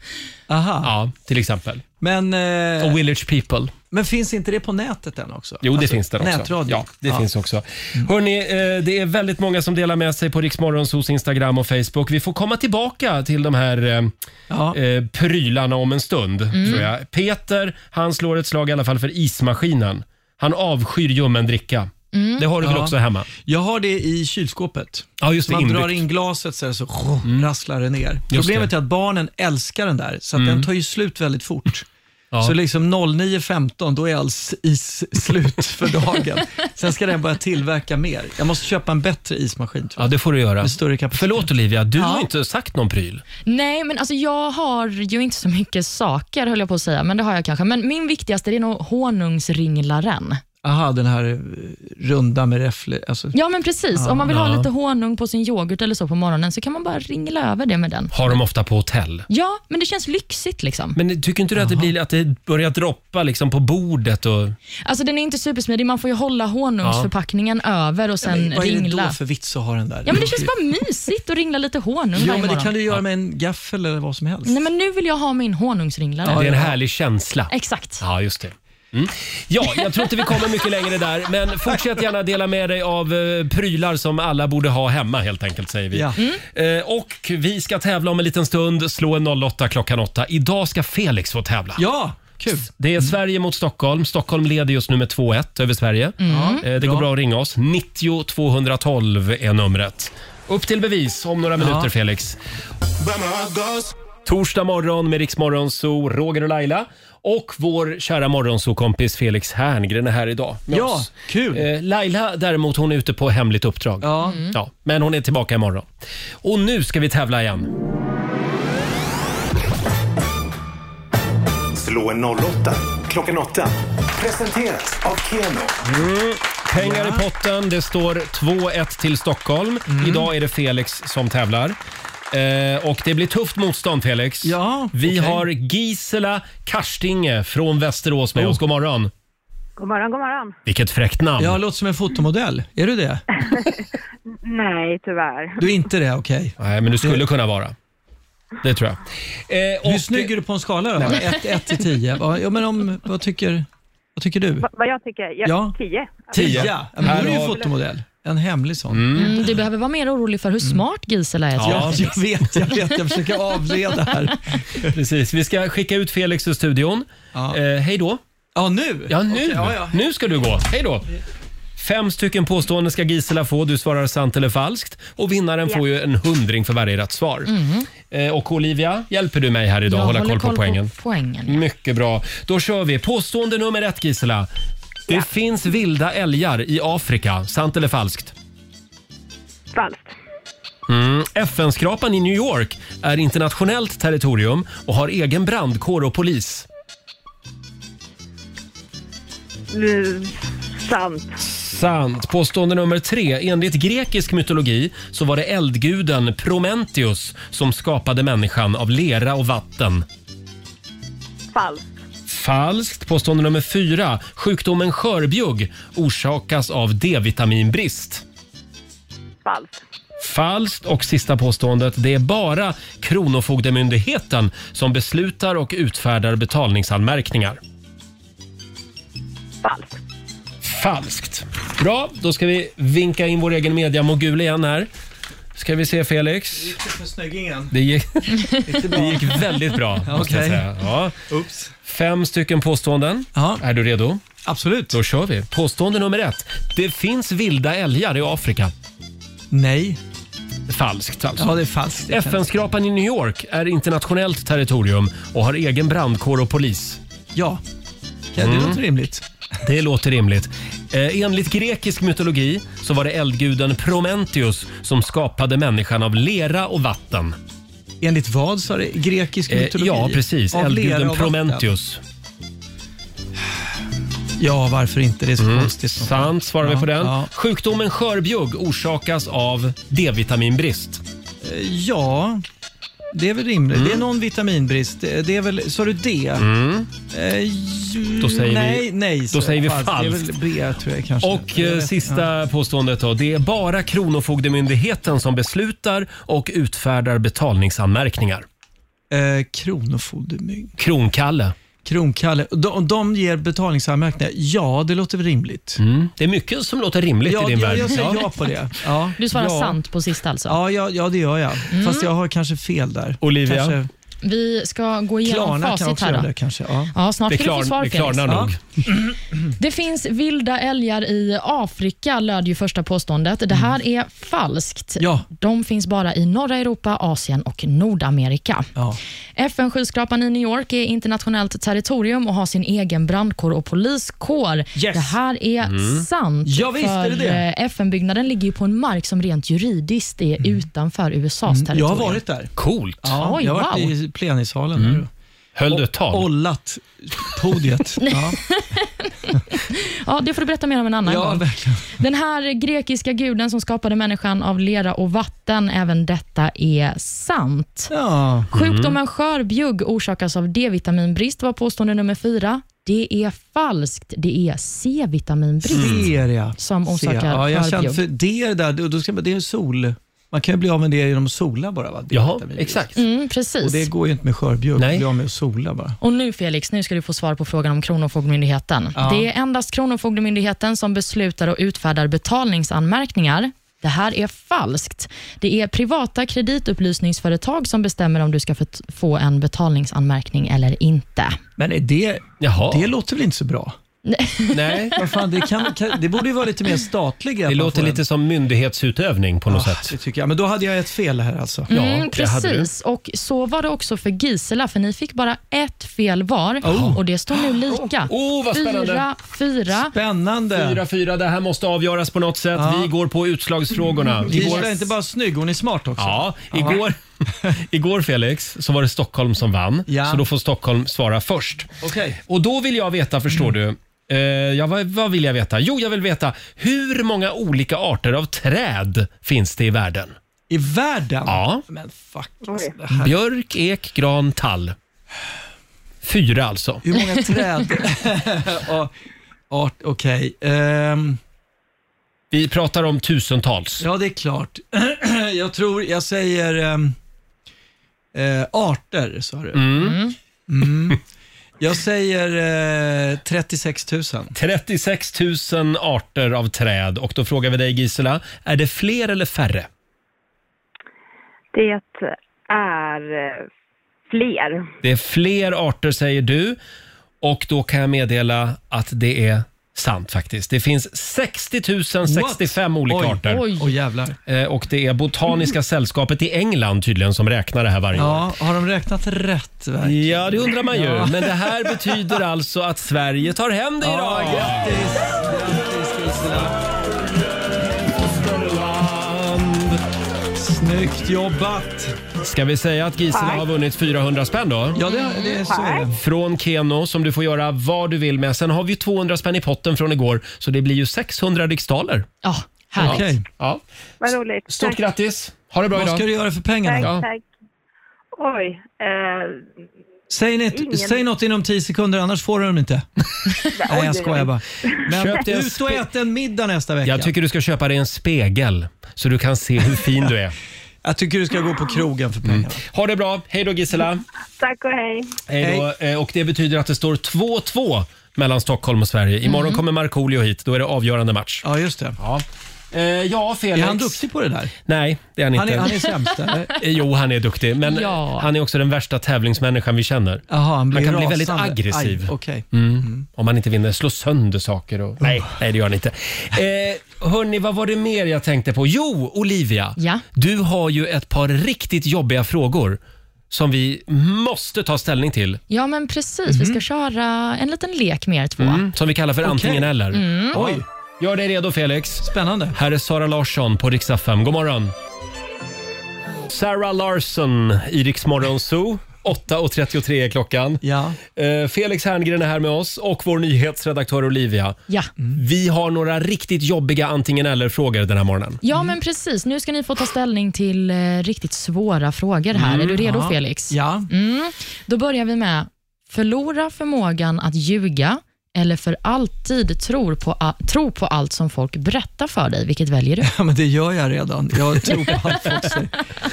Aha.
Ja, till exempel.
Men, eh,
Och Village People.
men finns inte det på nätet än också?
Jo, det
Alltså,
finns det också.
Nätradio?
Ja, det finns också. Hörrni, eh, det är väldigt många som delar med sig på Riksmorgonsos Instagram och Facebook. Vi får komma tillbaka till de här eh,
Ja. Mm.
eh, prylarna om en stund, tror jag. Peter, han slår ett slag i alla fall för ismaskinen. Han avskyr ljummen dricka. Det har du väl
Mm. Ja.
också hemma?
Jag har det i kylskåpet.
Ja, just det.
Man
inbyggt. Mm.
drar in glaset så, här, så rasslar det ner. Problemet
det. Mm.
är att barnen älskar den där, så att den tar ju slut väldigt fort.
Ja.
Så liksom 09.15, då är all s- is slut för dagen. Sen ska den börja tillverka mer. Jag måste köpa en bättre ismaskin tror
Ja,
jag.
det får du göra.
Med större kapacitet.
Förlåt Olivia, du
Ja.
har inte sagt någon pryl.
Nej, men alltså jag har ju inte så mycket saker, höll jag på att säga, men det har jag kanske. Men min viktigaste det är nog honungsringlaren.
Aha, den här eh, runda med räfflor. Alltså,
Ja, men precis. Om man vill
Ja.
ha lite honung på sin yoghurt eller så på morgonen så kan man bara ringla över det med den.
Har de ofta på hotell.
Ja, men det känns lyxigt liksom.
Men tycker inte du att det, blir, att det börjar droppa liksom på bordet? Och...
Alltså den är inte supersmidig, man får ju hålla honungsförpackningen över och sen
vad är det
ringla.
då för vits att ha den där?
Ja, men det känns bara mysigt att ringla lite honung
Ja, Mm.
varje
men det
morgon.
kan du göra med en gaffel eller vad som helst.
Nej, men nu vill jag ha min honungsringlare.
det är en härlig känsla.
Exakt.
Ja, just det. Mm. Ja, jag tror inte vi kommer mycket längre där, men fortsätt gärna dela med dig av eh, prylar som alla borde ha hemma helt enkelt, säger vi.
Ja.
Eh, och vi ska tävla om en liten stund, slå en 08 klockan 8. Idag ska Felix få tävla.
Ja, kul. Mm.
Det är Sverige mot Stockholm. Stockholm leder just nu med 2-1 över Sverige. Eh, Det går bra att ringa oss. 90 212 är numret. Upp till bevis om några minuter, Felix. Torsdag morgon med Riksmorgonzoo, Roger och Laila. Och vår kära morgonzoo-kompis Felix Herngren är här idag med
Ja,
oss.
kul.
Eh, Laila däremot, hon är ute på hemligt uppdrag. Mm.
Ja.
Ja, men hon är tillbaka imorgon. Och nu ska vi tävla igen.
Slå en 08 klockan 8. Presenteras av Keno.
Pengar i potten. Det står 2-1 till Stockholm.
Mm.
Idag är det Felix som tävlar. Eh, och det blir tufft motstånd, Felix.
Ja,
Vi
okej.
har Gisela Karstinge från Västerås
Oh.
med oss. God morgon.
God morgon, god morgon.
Vilket fräckt namn.
Jag låter som en fotomodell. Är du det?
Nej, tyvärr.
Du är inte det, okej.
Nej, men du skulle kunna vara. Det tror jag. Eh,
Hur
och-
snygg är du på en skala då? 1 till 10? Ja, men om, vad, tycker, vad tycker du?
Va- vad jag tycker? Jag,
Ja.
Tio.
Tio.
Ja, men då är du ju
Härav-
fotomodell. En hemlig sån.
Mm, du behöver vara mer orolig för hur smart Gisela är. tror jag.
Mm. Ja, jag vet, jag vet. Jag försöker avleda här.
Precis. Vi ska skicka ut Felix ur studion.
Ja,
Eh, hej då.
ja nu?
Ja, nu.
Okej, ja, ja.
Nu ska du gå. Hej då. Fem stycken påståenden ska Gisela få. Du svarar sant eller falskt. Och vinnaren får ju en hundring för varje rätt svar. Eh, och Olivia, hjälper du mig här idag
Jag
hålla koll
håller
på poängen?
poängen.
Mycket bra. Då kör vi. Påstående nummer ett, Gisela. Det finns vilda älgar i Afrika. Sant eller falskt?
Falskt.
Mm. FN-skrapan i New York är internationellt territorium och har egen brandkår och polis.
Nu, sant.
Sant. Påstående nummer tre. Enligt grekisk mytologi så var det eldguden Prometheus som skapade människan av lera och vatten.
Falskt.
Falskt. Påstående nummer fyra. Sjukdomen skörbjugg orsakas av D-vitaminbrist.
Falskt.
Falskt. Och sista påståendet. Det är bara Kronofogdemyndigheten som beslutar och utfärdar betalningsanmärkningar.
Falskt.
Falskt. Bra, då ska vi vinka in vår egen mediamogul igen här. Ska vi se Felix.
För snöggingen.
Det gick,
Lite bra.
det gick väldigt bra, måste jag
Okej.
säga. Ja. Fem stycken påståenden. Är du redo?
Absolut.
Då kör vi. Påstående nummer ett. Det finns vilda älgar i Afrika.
Nej.
Falskt alltså.
Ja, det är falskt. Det kan-
FN-skrapan i New York är internationellt territorium och har egen brandkår och polis.
Ja. Ja, det
Mm.
låter rimligt.
Det låter rimligt. Eh, enligt grekisk mytologi så var det eldguden Prometheus som skapade människan av lera och vatten.
Enligt vad sa det? Grekisk
Eh,
mytologi?
ja, precis.
Av lera
Eldguden Mm.
och vatten.
Prometheus.
Ja, varför inte? Det är så konstigt.
Mm. Sant, svarar vi
Ja,
på den.
ja.
Sjukdomen skörbjugg orsakas av D-vitaminbrist.
Eh, Ja, det är väl rimligt.
Mm.
Det är någon vitaminbrist. Det det är väl, sa du D?
Mm.
Eh, ju-
Då säger vi-
nej, nej.
då
sa jag.
säger vi
Det är
falskt.
väl B, tror jag kanske.
Och
Jag
eh,
vet-
sista påståendet då. Det är bara Kronofogdemyndigheten som beslutar och utfärdar betalningsanmärkningar.
Ja. Eh, Kronofogdemyn.
Kronkalle.
Kronkalle. De, de ger betalningsanmärkningar. Ja, det låter väl rimligt.
Det är mycket som låter rimligt
ja,
Mm. i din
ja,
värld.
Jag säger
Ja.
ja på det. Ja.
Du svarar
ja.
sant Mm. på sista alltså.
Ja, ja, ja, det gör jag. Fast jag har kanske fel där.
Olivia?
Kanske,
Vi ska gå igenom
Klarna kan
facit
också
här.
göra
Då.
det kanske. Ja.
Ja, snart
Det,
ska du få
klar,
svar
det
Felix.
klarnar nog.
Det finns vilda älgar i Afrika, löd ju första påståendet. Det här är falskt.
Mm. Ja.
De finns bara i norra Europa, Asien och Nordamerika.
Ja.
FN-skyskrapan i New York är internationellt territorium och har sin egen brandkår och poliskår. Det här är sant.
Ja, visst
för
är det det.
eh, FN-byggnaden ligger ju på en mark som rent juridiskt är utanför USAs
Mm. Jag har
territorium.
varit där.
Coolt.
Ja,
Oj,
jag har varit
wow.
i plenisalen.
Mm.
där.
Höll du ett tal?
Ollat podiet. ja.
Ja, det får du berätta mer om en annan
ja,
gång.
verkligen.
Den här grekiska guden som skapade människan av lera och vatten, även detta är sant.
Ja.
Sjukdomen skörbjugg orsakas av D-vitaminbrist var påstående nummer fyra. Det är falskt. Det är C-vitaminbrist.
Ser jag.
Som
Ser jag.
orsakar
Mm. Ja, jag har
skörbjugg.
känt för det är det där, då- då ska man, det är sol. Man kan ju bli av med det genom att sola bara. Va? Det är
Jaha,
vitamin.
exakt.
Mm, precis.
Och det går ju inte med skörbjugg,
Nej.
bli av med att sola bara.
Och nu Felix, nu ska du få svar på frågan om Kronofogdemyndigheten.
Ja.
Det är endast Kronofogdemyndigheten som beslutar och utfärdar betalningsanmärkningar. Det här är falskt. Det är privata kreditupplysningsföretag som bestämmer om du ska få- få en betalningsanmärkning eller inte.
Men är det,
Jaha.
det låter väl inte så bra?
Nej.
Vad fan, det, kan, kan, det borde ju vara lite mer statlig att
Det
man
låter
får en-
lite som myndighetsutövning på något
Ah,
sätt.
det tycker jag. Men då hade jag ett fel här alltså.
Ja,
Mm,
det hade du.
precis, och så var det också för Gisela, för ni fick bara ett fel var och det står nu lika.
Oh, vad spännande.
Fyra, fyra.
Spännande.
4-4, det här måste avgöras på något sätt.
Ja.
Vi går på utslagsfrågorna.
Gisela
Igår,
är inte bara snygg, hon är smart också.
ja, igår, igår Felix, så var det Stockholm som vann.
Ja.
Så då får Stockholm svara först.
Okej.
Och då vill jag veta, förstår du, eh, ja, vad, vad vill jag veta? Jo, jag vill veta hur många olika arter av träd finns det i världen?
I världen?
Ja.
Men fuck. alltså, det här-
Björk, ek, gran, tall. Fyra alltså.
Hur många träd? Ja, Art, okej. Ehm,
Vi pratar om tusentals.
ja, det är klart. jag tror, jag säger ehm, eh, arter, sa du.
Mm.
Mm. Jag säger eh, 36 000.
36 000 arter av träd och då frågar vi dig Gisela, är det fler eller färre?
Det är eh, fler.
Det är fler arter säger du och då kan jag meddela att det är sant faktiskt. Det finns 60 065 olika
Oj.
arter.
Oj.
Åh jävlar.
Eh, Och det är Botaniska sällskapet i England tydligen som räknar det här varje år.
Ja, har de räknat rätt? Verkligen?
Ja, det undrar man ju. Men det här betyder alltså att Sverige tar hem det idag.
Ja, grattis! Grattis Gisela. Snyggt jobbat!
Ska vi säga att Gisela
Nej.
har vunnit 400 spänn då?
Ja, det, det, så är det.
Från Keno som du får göra vad du vill med. Sen har vi ju 200 spänn i potten från igår, så det blir ju 600 riksdaler.
Ja,
härligt.
Ja.
Vad roligt.
Stort
Tack.
grattis! Ha det bra
Vad
idag.
ska du göra för pengarna? Ja.
Tack, tack. Oj. Eh,
Säg,
Ingen-
något, säg något inom 10 sekunder, annars får du dem inte. Nej, jag skojar bara. Men
Köp dig en
ut och
spe-
ät en middag nästa vecka.
Jag tycker du ska köpa dig en spegel så du kan se hur fin du är.
Jag tycker du ska gå på krogen för pengarna.
Ha det bra. Hej då Gisela.
tack och hej.
Hej då. Eh, Och det betyder att det står 2-2 mellan Stockholm och Sverige. Imorgon kommer Markoolio hit. Då är det avgörande match.
Ja, just det.
Mhm. Ja, Eh, ja Felix.
Är han duktig på det där?
Nej, det är han
Han
inte.
är, han är sämst, eller?
Eh, Jo, han är duktig, men
Ja.
han är också den värsta tävlingsmänniskan vi känner.
Jaha, han blir
Man kan bli
rasande.
väldigt aggressiv.
Aj, okej.
Mm. Om man inte vinner, slå sönder saker. Och... Nej, nej, det gör han inte. Eh, hörni, vad var det mer jag tänkte på? Jo, Olivia.
Ja.
Du har ju ett par riktigt jobbiga frågor som vi måste ta ställning till.
Ja, men precis. Vi ska köra en liten lek med er två.
Mhm. Mm. Som vi kallar för antingen eller.
Mm. Oj,
Gör dig redo Felix.
spännande.
Här är Sara Larsson på Rix FM. God morgon. Sarah Larsson i Rix Morgon Zoo. 8.33 är klockan.
Ja.
Eh, Felix Herngren är här med oss och vår nyhetsredaktör Olivia.
Mm.
Ja.
Vi har några riktigt jobbiga antingen eller-frågor den här morgonen.
ja, men precis. Nu ska ni få ta ställning till eh, riktigt svåra frågor här. är du redo, Felix?
Mm, Ja.
Mm. Då börjar vi med, förlora förmågan att ljuga eller för alltid tro på, a- tro på allt som folk berättar för dig. Vilket väljer du?
ja, men det gör jag redan. Jag tror på allt folk säger.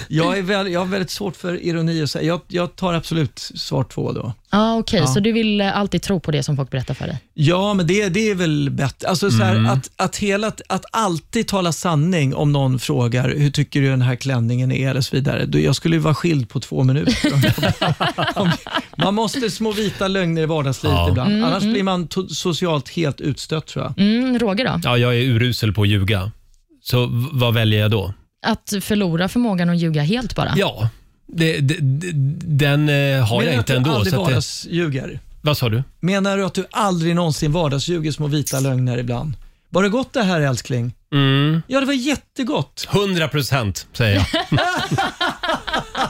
Jag, är väl, jag har väldigt svårt för ironi och så. Jag, jag tar absolut svar två då.
Ah, Okej,
Ja.
så du vill eh, alltid tro på det som folk berättar för dig?
Ja, men det, det är väl bättre. Alltså, så
Mm.
här, att, att, hela, att alltid tala sanning om någon frågar hur tycker du den här klänningen är eller så vidare. Då, jag skulle ju vara skild på två minuter. Om- om- man måste små vita lögner i vardagslivet
Ja.
ibland. Annars blir man to- socialt helt utstött tror jag.
Mm, Roger då?
Ja, jag är urusel på att ljuga. Så v- vad väljer jag då?
Att förlora förmågan att ljuga helt bara?
Ja, det, det, det- den eh, har jag
Menar
inte
du att du
ändå.
aldrig
Så att det,
vardagsljuger?
vad sa du?
Menar du att du aldrig någonsin vardagsljuger små vita lögner ibland? Var det gott det här älskling?
Mm.
Ja, det var jättegott.
100 procent, säger jag.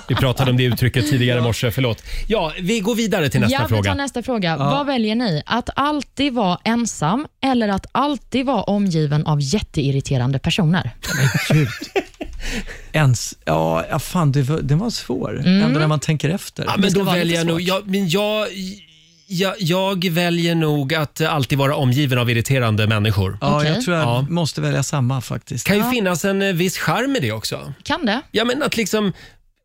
vi pratade om det uttrycket tidigare i morse. Förlåt. Ja, vi går vidare till nästa
ja, vi tar
fråga.
nästa fråga. Vad väljer ni? Att alltid vara ensam eller att alltid vara omgiven av jätteirriterande personer?
Gud. Ens, ja, ja, fan, det var, den var svår. Ändå när man tänker efter.
Ja, men
Mm. ska
då
vara
väljer
lite
jag nog...
svårt.
Jag, men jag, jag, jag väljer nog att alltid vara omgiven av irriterande människor.
ja,
Okej.
jag tror jag
Ja.
måste välja samma faktiskt.
kan ju finnas en eh, viss charm i det också.
Kan det?
Ja, men att liksom...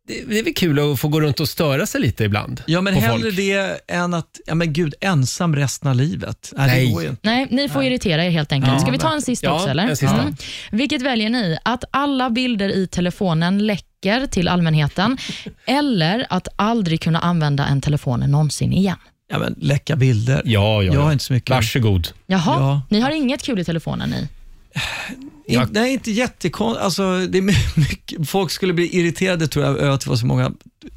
Det det är väl kul att få gå runt och störa sig lite ibland.
Ja, men
på
hellre
folk.
det än att, ja men gud, ensam resten av livet. Nej,
Nej.
det går ju inte.
Nej, ni får irritera er helt enkelt. Ska vi ta en sista
Ja,
också? Eller? Mm.
en sista.
Vilket väljer ni? Att alla bilder i telefonen läcker till allmänheten eller att aldrig kunna använda en telefon någonsin igen?
Ja, men läcka bilder.
Ja, ja,
Jag har
ja.
inte så mycket.
Varsågod.
Jaha,
Ja.
ni har inget kul i telefonen ni?
In, nej, inte jättekonstigt. Alltså, det är my- mycket, folk skulle bli irriterade tror jag över att det var så många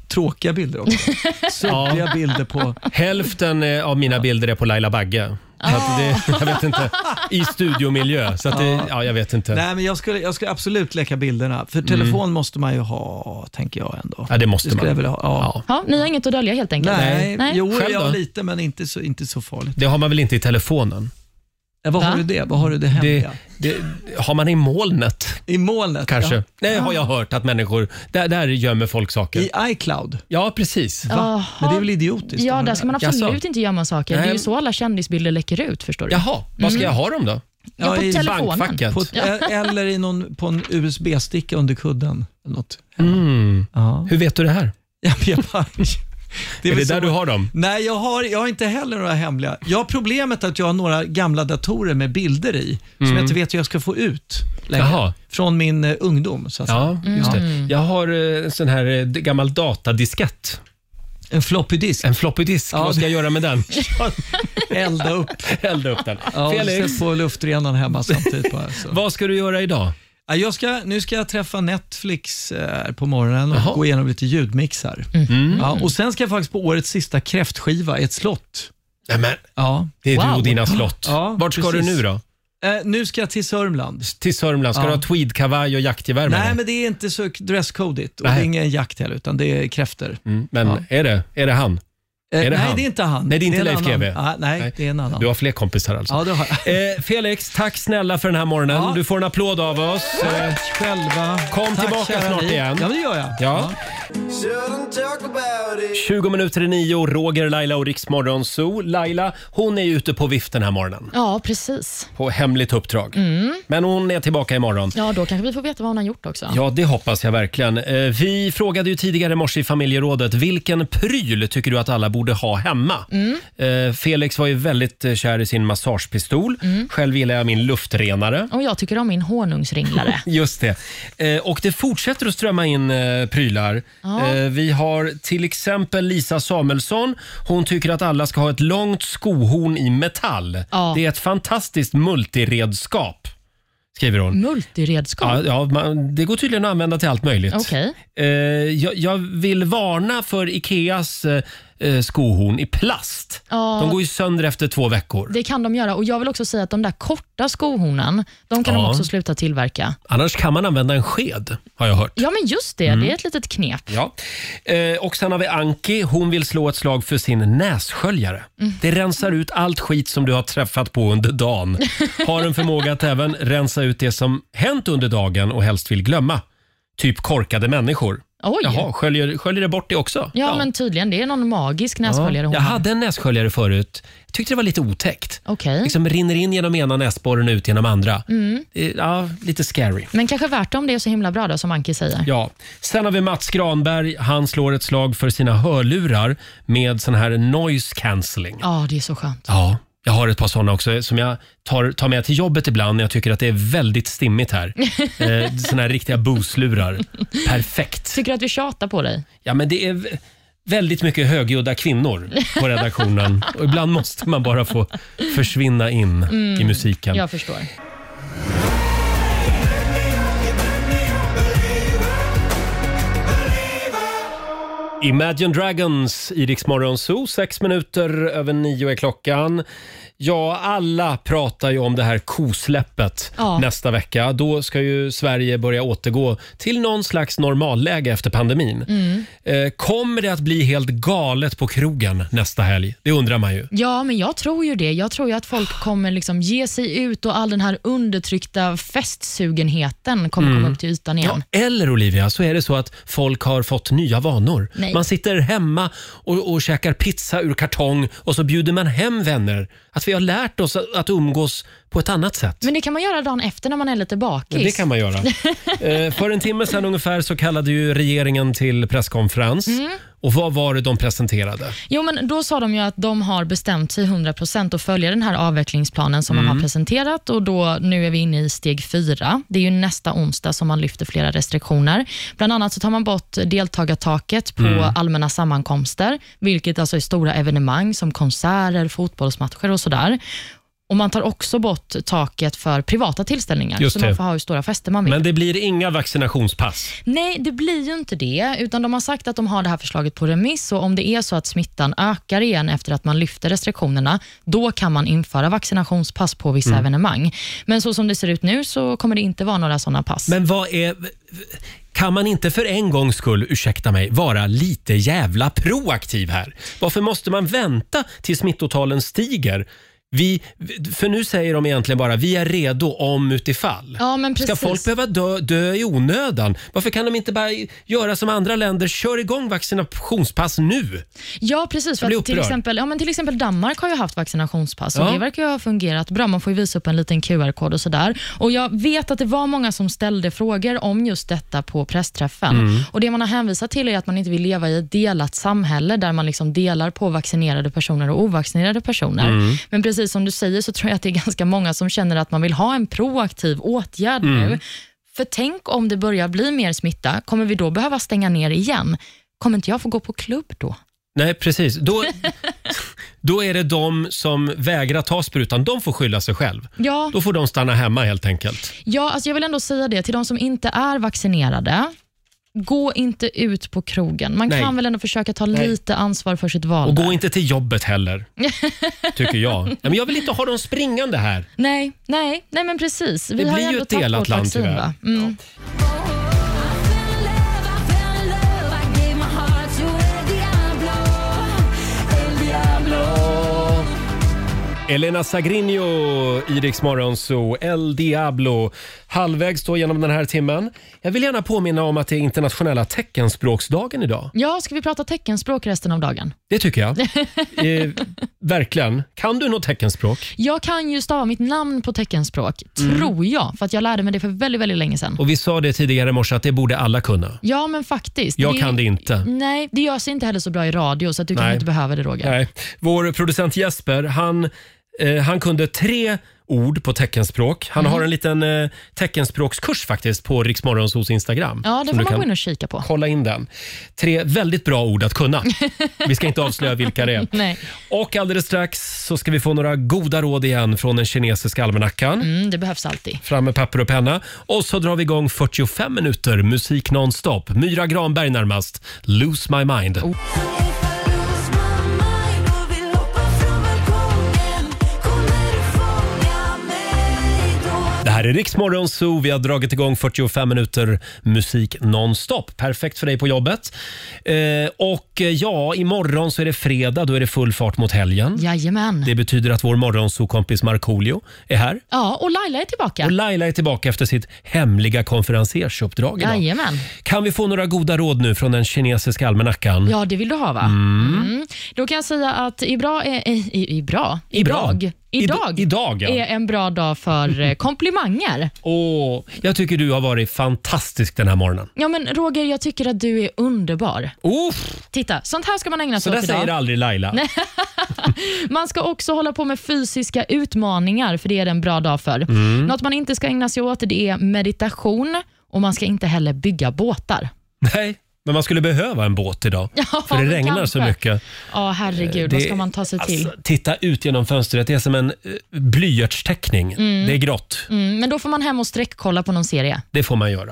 tråkiga bilder också. Suddiga bilder på...
Hälften eh, av mina bilder är på Laila Bagge. Så att det, jag vet inte. I studiomiljö. Så att det, ja, jag vet inte.
Ah. Nej, men jag skulle, jag skulle absolut läcka bilderna. För telefon måste man ju ha, tänker jag ändå.
Mm. Ja, det måste
skulle
man.
Jag vilja ha, ja.
Ja.
Ja, ni har inget att dölja helt enkelt?
Nej,
Nej.
jo,
Själv då?
jag lite, men inte så, inte så farligt.
Det har man väl inte i telefonen?
Ja, Eh, vad
Va?
har du det? Vad har du det hemliga?
Det, det, har man i molnet
I molnet?
kanske?
Ja.
Det har jag hört att människor... Där, där gömmer folk saker.
I iCloud?
Ja, precis.
Jaha.
Men det är väl idiotiskt?
Ja,
om
där
det
ska man
där.
absolut
Jaså?
inte gömma saker. Det är
Nej.
ju så alla kändisbilder läcker ut, förstår du.
Jaha, vad ska jag ha dem då?
Ja, på
i
telefonen.
Bankfacket?
På, eh, Eller i någon, på en USB-sticka under kudden. Eller något.
Mm.
Ja.
Hur vet du det här?
Ja, men jag bara- det
Är
väl
det
så-
där du har dem?
Nej, jag har, jag har inte heller några hemliga. Jag har problemet att jag har några gamla datorer med bilder i, som jag inte vet hur jag ska få ut längre.
Mm. Jaha.
Från min eh, ungdom, så att säga.
Ja, just det. Jag har eh, en sån här eh, d- gammal datadiskett.
En floppy disk.
En floppy disk.
Ja,
Vad ska jag göra med den?
Elda upp.
Elda upp den.
Ja, Felix.
Felix,
Sätt på luftrenaren hemma samtidigt bara. Så.
vad ska du göra idag?
Ja, Jag ska, nu ska jag träffa Netflix eh, på morgonen och
Jaha. Mm.
gå igenom lite ljudmixar. Ja, och sen ska jag faktiskt på årets sista kräftskiva i ett slott.
Nej, men,
Ja.
det är du
Wow.
och dina slott.
Ja,
Vart ska
precis.
du nu då?
nu ska jag till Sörmland.
Till Sörmland? Ska
Ja.
du ha tweedkavaj och jaktgevär med
Nej,
dig?
men det är inte så dresscodigt. Och det
Nej.
är ingen jakt heller, utan det är kräftor.
Mm, Men är, det, är det han?
Eh,
är
nej, det är inte han.
Nej, det är inte
Det är en
Leif
annan.
GW.
Ah, nej, det är en annan.
Du har fler kompisar alltså?
Ja, det har
eh, Felix, tack snälla för den här morgonen. Du får en applåd av oss. Eh,
Själva.
kom
Tack,
tillbaka
kära
snart
ni.
igen.
Ja, men det gör jag.
Ja. 20 minuter i nio, Roger, Laila och Riksmorgon Zoo. Laila, hon är ju ute på vift den här morgonen.
Ja, precis.
På hemligt uppdrag.
Mm.
Men hon är tillbaka imorgon.
Ja, då kanske vi får veta vad hon har gjort också.
Ja, det hoppas jag verkligen. Eh, Vi frågade ju tidigare i morse i familjerådet, vilken pryl tycker du att alla borde ha hemma?
Mm.
Eh, Felix var ju väldigt eh, kär i sin massagepistol.
Mm.
Själv gillar jag min luftrenare.
Och jag tycker om min honungsringlare.
Just det. Eh, Och det fortsätter att strömma in eh, prylar.
Ja.
Eh, Vi har till exempel Lisa Samuelsson. Hon tycker att alla ska ha ett långt skohorn i metall.
Ja.
Det är ett fantastiskt multiredskap, skriver hon.
Multiredskap.
Ja, ja man, det går tydligen att använda till allt möjligt.
Mm. Okej.
Eh, jag, jag vill varna för Ikeas eh, eh, skohorn i plast.
Ja.
De går ju sönder efter två veckor.
Det kan de göra. Och Jag vill också säga att de där korta skohornen, de kan
Ja.
de också sluta tillverka.
Annars kan man använda en sked, har jag hört.
Ja, men just det.
Mm.
Det är ett litet knep.
Ja. Eh, och sen har vi Anki. Hon vill slå ett slag för sin nässköljare.
Mm.
Det rensar ut allt skit som du har träffat på under dagen. Har en förmåga att även rensa ut det som hänt under dagen och helst vill glömma. Typ korkade människor.
Oj.
Jaha, sköljer, sköljer det bort det också?
Ja, men tydligen. Det är någon magisk nässköljare
Ja.
hon
Jag
har.
hade en nässköljare förut. Jag tyckte det var lite otäckt.
Okej.
Liksom rinner in genom ena näsborren och ut genom andra. Eh, Ja, lite scary.
Men kanske värt det om det är så himla bra då, som Anki säger.
Ja. Sen har vi Mats Granberg. Han slår ett slag för sina hörlurar med sån här noise cancelling.
Ja, det är så skönt.
Ja, jag har ett par såna också som jag tar, tar med till jobbet ibland när jag tycker att det är väldigt stimmigt här. eh, såna här riktiga buslurar. Perfekt.
Tycker du att vi tjatar på dig?
Ja, men det är v- väldigt mycket högljudda kvinnor på redaktionen. Och ibland måste man bara få försvinna in i musiken.
Jag förstår.
Imagine Dragons i Rix Morgon Zoo. Sex minuter över nio är klockan. Ja, alla pratar ju om det här kosläppet
Ja.
nästa vecka. Då ska ju Sverige börja återgå till någon slags normalläge efter pandemin. Eh, Kommer det att bli helt galet på krogen nästa helg? Det undrar man ju.
Ja, men jag tror ju det. Jag tror ju att folk kommer liksom ge sig ut och all den här undertryckta festsugenheten kommer komma upp till ytan igen.
Mm. Ja, eller Olivia, så är det så att folk har fått nya vanor.
Nej.
Man sitter hemma och, och käkar pizza ur kartong och så bjuder man hem vänner. Att vi har lärt oss att, att umgås på ett annat sätt.
Men det kan man göra dagen efter när man är lite bakis.
Det kan man göra. eh, för en timme sedan ungefär så kallade ju regeringen till presskonferens. Och vad var det de presenterade?
Jo, Mm. men då sa de ju att de har bestämt sig 100% att följa den här avvecklingsplanen som
Mm.
man har presenterat och då, nu är vi inne i steg fyra. Det är ju nästa onsdag som man lyfter flera restriktioner. Bland annat så tar man bort deltagartaket på
Mm.
allmänna sammankomster, vilket alltså är stora evenemang som konserter, fotbollsmatcher och sådär. Och Man tar också bort taket för privata tillställningar,
Just
så
det.
man får ha hur stora fester man vill.
Men det blir inga vaccinationspass.
Nej, det blir ju inte det, utan de har sagt att de har det här förslaget på remiss och om det är så att smittan ökar igen efter att man lyfter restriktionerna, då kan man införa vaccinationspass på vissa evenemang. Men så som det ser ut nu så kommer det inte vara några sådana pass.
Men vad är... Kan man inte för en gångs skull, ursäkta mig, vara lite jävla proaktiv här? Varför måste man vänta tills smittotalen stiger? Vi, för nu säger de egentligen bara vi är redo om utifall.
Ja, men
Ska
precis.
folk behöva dö, dö i onödan? Varför kan de inte bara göra som andra länder, kör igång vaccinationspass nu?
Ja, precis. För
Jag blir
att till,
upprörd.
exempel, ja, men till exempel Danmark har ju haft vaccinationspass och
Ja.
det verkar ju ha fungerat bra. Man får ju visa upp en liten QR-kod och sådär. Och Jag vet att det var många som ställde frågor om just detta på pressträffen.
Mm.
Och Det man har hänvisat till är att man inte vill leva i ett delat samhälle där man liksom delar på vaccinerade personer och ovaccinerade personer.
Mm.
Men precis som du säger så tror jag att det är ganska många som känner att man vill ha en proaktiv åtgärd
Mm.
nu. För tänk om det börjar bli mer smitta, kommer vi då behöva stänga ner igen? Kommer inte jag få gå på klubb då?
Nej, precis. Då, då är det de som vägrar ta sprutan, de får skylla sig själv.
Ja,
Då får de stanna hemma helt enkelt.
ja alltså jag vill ändå säga det till de som inte är vaccinerade. gå inte ut på krogen. Man
Nej.
kan väl ändå försöka ta
Nej.
lite ansvar för sitt val.
Och
där.
gå inte till jobbet heller, tycker jag. Nej, men jag vill inte ha dem springande här.
Nej, nej, nej men precis. Vi
Det
har
blir
ändå
ju ett
tagit
delat
bort
land,
vaccin,
tyvärr.
va? Mm.
Elena Sagrinho i Rix Morgon Zoo, El Diablo. Halvvägs då genom den här timmen. Jag vill gärna påminna om att det är internationella teckenspråksdagen idag.
Ja, ska vi prata teckenspråk resten av dagen?
Det tycker jag. eh, verkligen. Kan du något teckenspråk?
Jag kan ju stava mitt namn på teckenspråk,
Mm.
tror jag, för att jag lärde mig det för väldigt, väldigt länge sedan.
Och Vi sa det tidigare i morse att det borde alla kunna.
Ja, men faktiskt.
Jag kan det inte.
Nej, det görs inte heller så bra i radio, så att du kanske
Nej.
inte behöver det, Roger.
Nej. Vår producent Jesper, han, eh, han kunde tre ord på teckenspråk. Han
Mm.
har en liten eh, teckenspråkskurs faktiskt på Riksmorgonsos Instagram.
Ja, det
som
får
du
man
kan
gå in och kika på.
Kolla in den. Tre väldigt bra ord att kunna. Vi ska inte avslöja vilka det är.
Nej.
Och alldeles strax så ska vi få några goda råd igen från den kinesiska almanackan.
Mm, det behövs alltid.
Fram med papper och penna. Och så drar vi igång 45 minuter musik nonstop. Myra Granberg närmast. Lose my mind.
Oh.
Det här är Riksmorgon Zoo. Vi har dragit igång 45 minuter musik nonstop. Perfekt för dig på jobbet. Eh, och eh, ja, imorgon så är det fredag. Då är det full fart mot helgen.
Jajamän.
Det betyder att vår morgonsokompis Markoolio är här.
Ja, och Laila är tillbaka.
Och Laila är tillbaka efter sitt hemliga konferensersuppdrag idag.
Jajamän.
Kan vi få några goda råd nu från den kinesiska almanackan?
Ja, det vill du ha va?
Mm.
Mm. Då kan jag säga att i bra, eh, i, i, i bra,
I bra.
idag, idag,
I- idag, ja.
är en bra dag för eh, komplimanger.
Åh, jag tycker du har varit fantastisk den här morgonen.
Ja, men Roger, jag tycker att du är underbar.
Uff,
Titta, sånt här ska man ägna
så
sig
där
åt idag.
säger aldrig Laila.
Nej. Man ska också hålla på med fysiska utmaningar, för det är det en bra dag för.
Mm.
Något man inte ska ägna sig åt det är meditation och man ska inte heller bygga båtar.
Nej, men man skulle behöva en båt idag. För det
men
regnar så
kanske.
mycket.
Ja, herregud,
Eh, Det- alltså-
vad ska man ta sig till?
Titta ut genom fönstret, det är som en eh, blyertsteckning.
Mm.
Det är grått.
Mm, men då får man hem och sträckkolla på någon serie.
Det får man göra.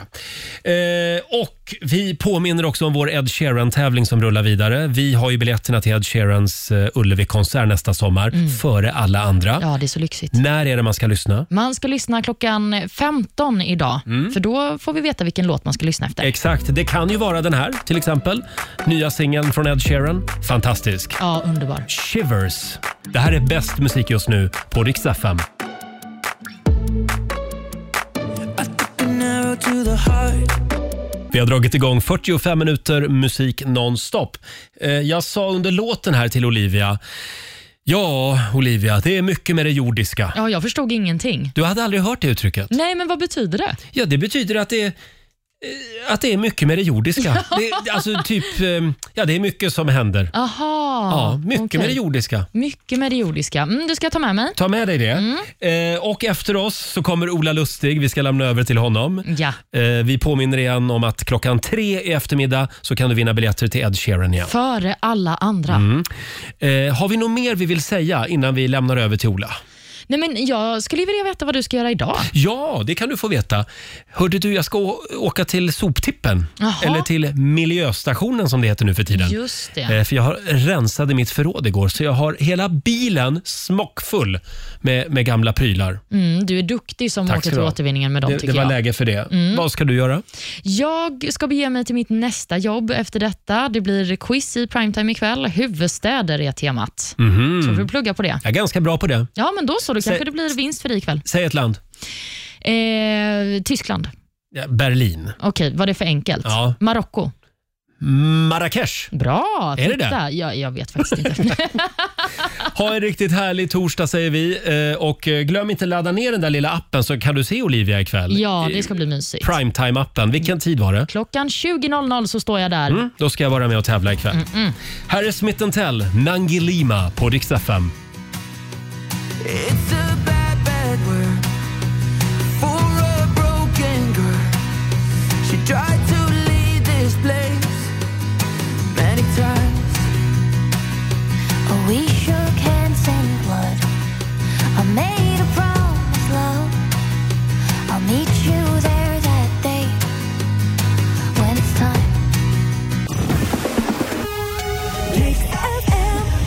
Eh, och Vi påminner också om vår Ed Sheeran-tävling som rullar vidare. Vi har ju biljetterna till Ed Sheerans eh, Ullevi-konsert nästa sommar, före alla andra.
Mm. Ja, det är så lyxigt.
När är det man ska lyssna?
Man ska lyssna klockan 15 idag,
Mm.
för då får vi veta vilken låt man ska lyssna efter.
Exakt, det kan ju vara den här till exempel. Nya singeln från Ed Sheeran. Fantastisk.
Ja, underbar.
Shivers. Det här är bäst musik just nu på Rix FM.
An arrow to the heart.
Vi har dragit igång 45 minuter musik nonstop. Eh, Jag sa under låten här till Olivia. Ja, Olivia, det är mycket med det jordiska.
Ja, jag förstod ingenting.
Du hade aldrig hört det uttrycket?
Nej, men vad betyder det?
Ja, det betyder att det är eh, att det är mycket med det jordiska. Det, alltså typ, eh, ja det är mycket som händer.
Aha,
Ja, mycket
okej.
med det jordiska.
Mycket med det jordiska. Mm, du ska ta med mig.
Ta med dig det.
Mm.
Eh, och efter oss så kommer Ola Lustig. Vi ska lämna över till honom.
Ja.
Eh, vi påminner igen om att klockan tre i eftermiddag så kan du vinna biljetter till Ed Sheeran igen.
Före alla andra.
Mm. Eh, har vi något mer vi vill säga innan vi lämnar över till Ola?
Nej, men jag skulle ju vilja veta vad du ska göra idag.
Ja, det kan du få veta. Hörde du, jag ska å- åka till soptippen.
Jaha.
Eller till miljöstationen som det heter nu för tiden.
Just det.
Eh, För jag har rensade mitt förråd igår så jag har hela bilen smockfull med, med gamla prylar.
Mm, du är duktig som åker
ska du
till
ha.
återvinningen med dem,
det,
tycker
det var
jag. Mm.
läge för det. Vad ska du göra?
Jag ska bege mig till mitt nästa jobb efter detta. Det blir quiz i primetime ikväll. Huvudstäder är temat.
Mhm.
Tror du plugga på det?
Jag är ganska bra på det.
Ja, men då så. Då kanske
Sä-
det blir vinst för dig ikväll.
Säg ett land.
Eh, Tyskland.
Ja, Berlin.
Okej, var det för enkelt?
Ja.
Marocko.
Marrakesh.
Bra!
Är det
titta. Jag, jag vet faktiskt inte.
Ha en riktigt härlig torsdag säger vi. Eh, Och eh, glöm inte ladda ner den där lilla appen så kan du se Olivia ikväll.
ja, det ska bli mysigt.
Primetime-appen. Vilken tid var det?
Klockan 20.00 så står jag där.
Mm, då ska jag vara med och tävla ikväll. Här är Smith Tell, Nangi Lima på Rix FM.
It's a bad, bad word for a broken girl. She tried to leave this place many times.
Oh, we shook hands in blood. I made a promise, love. I'll meet you there that day when it's time.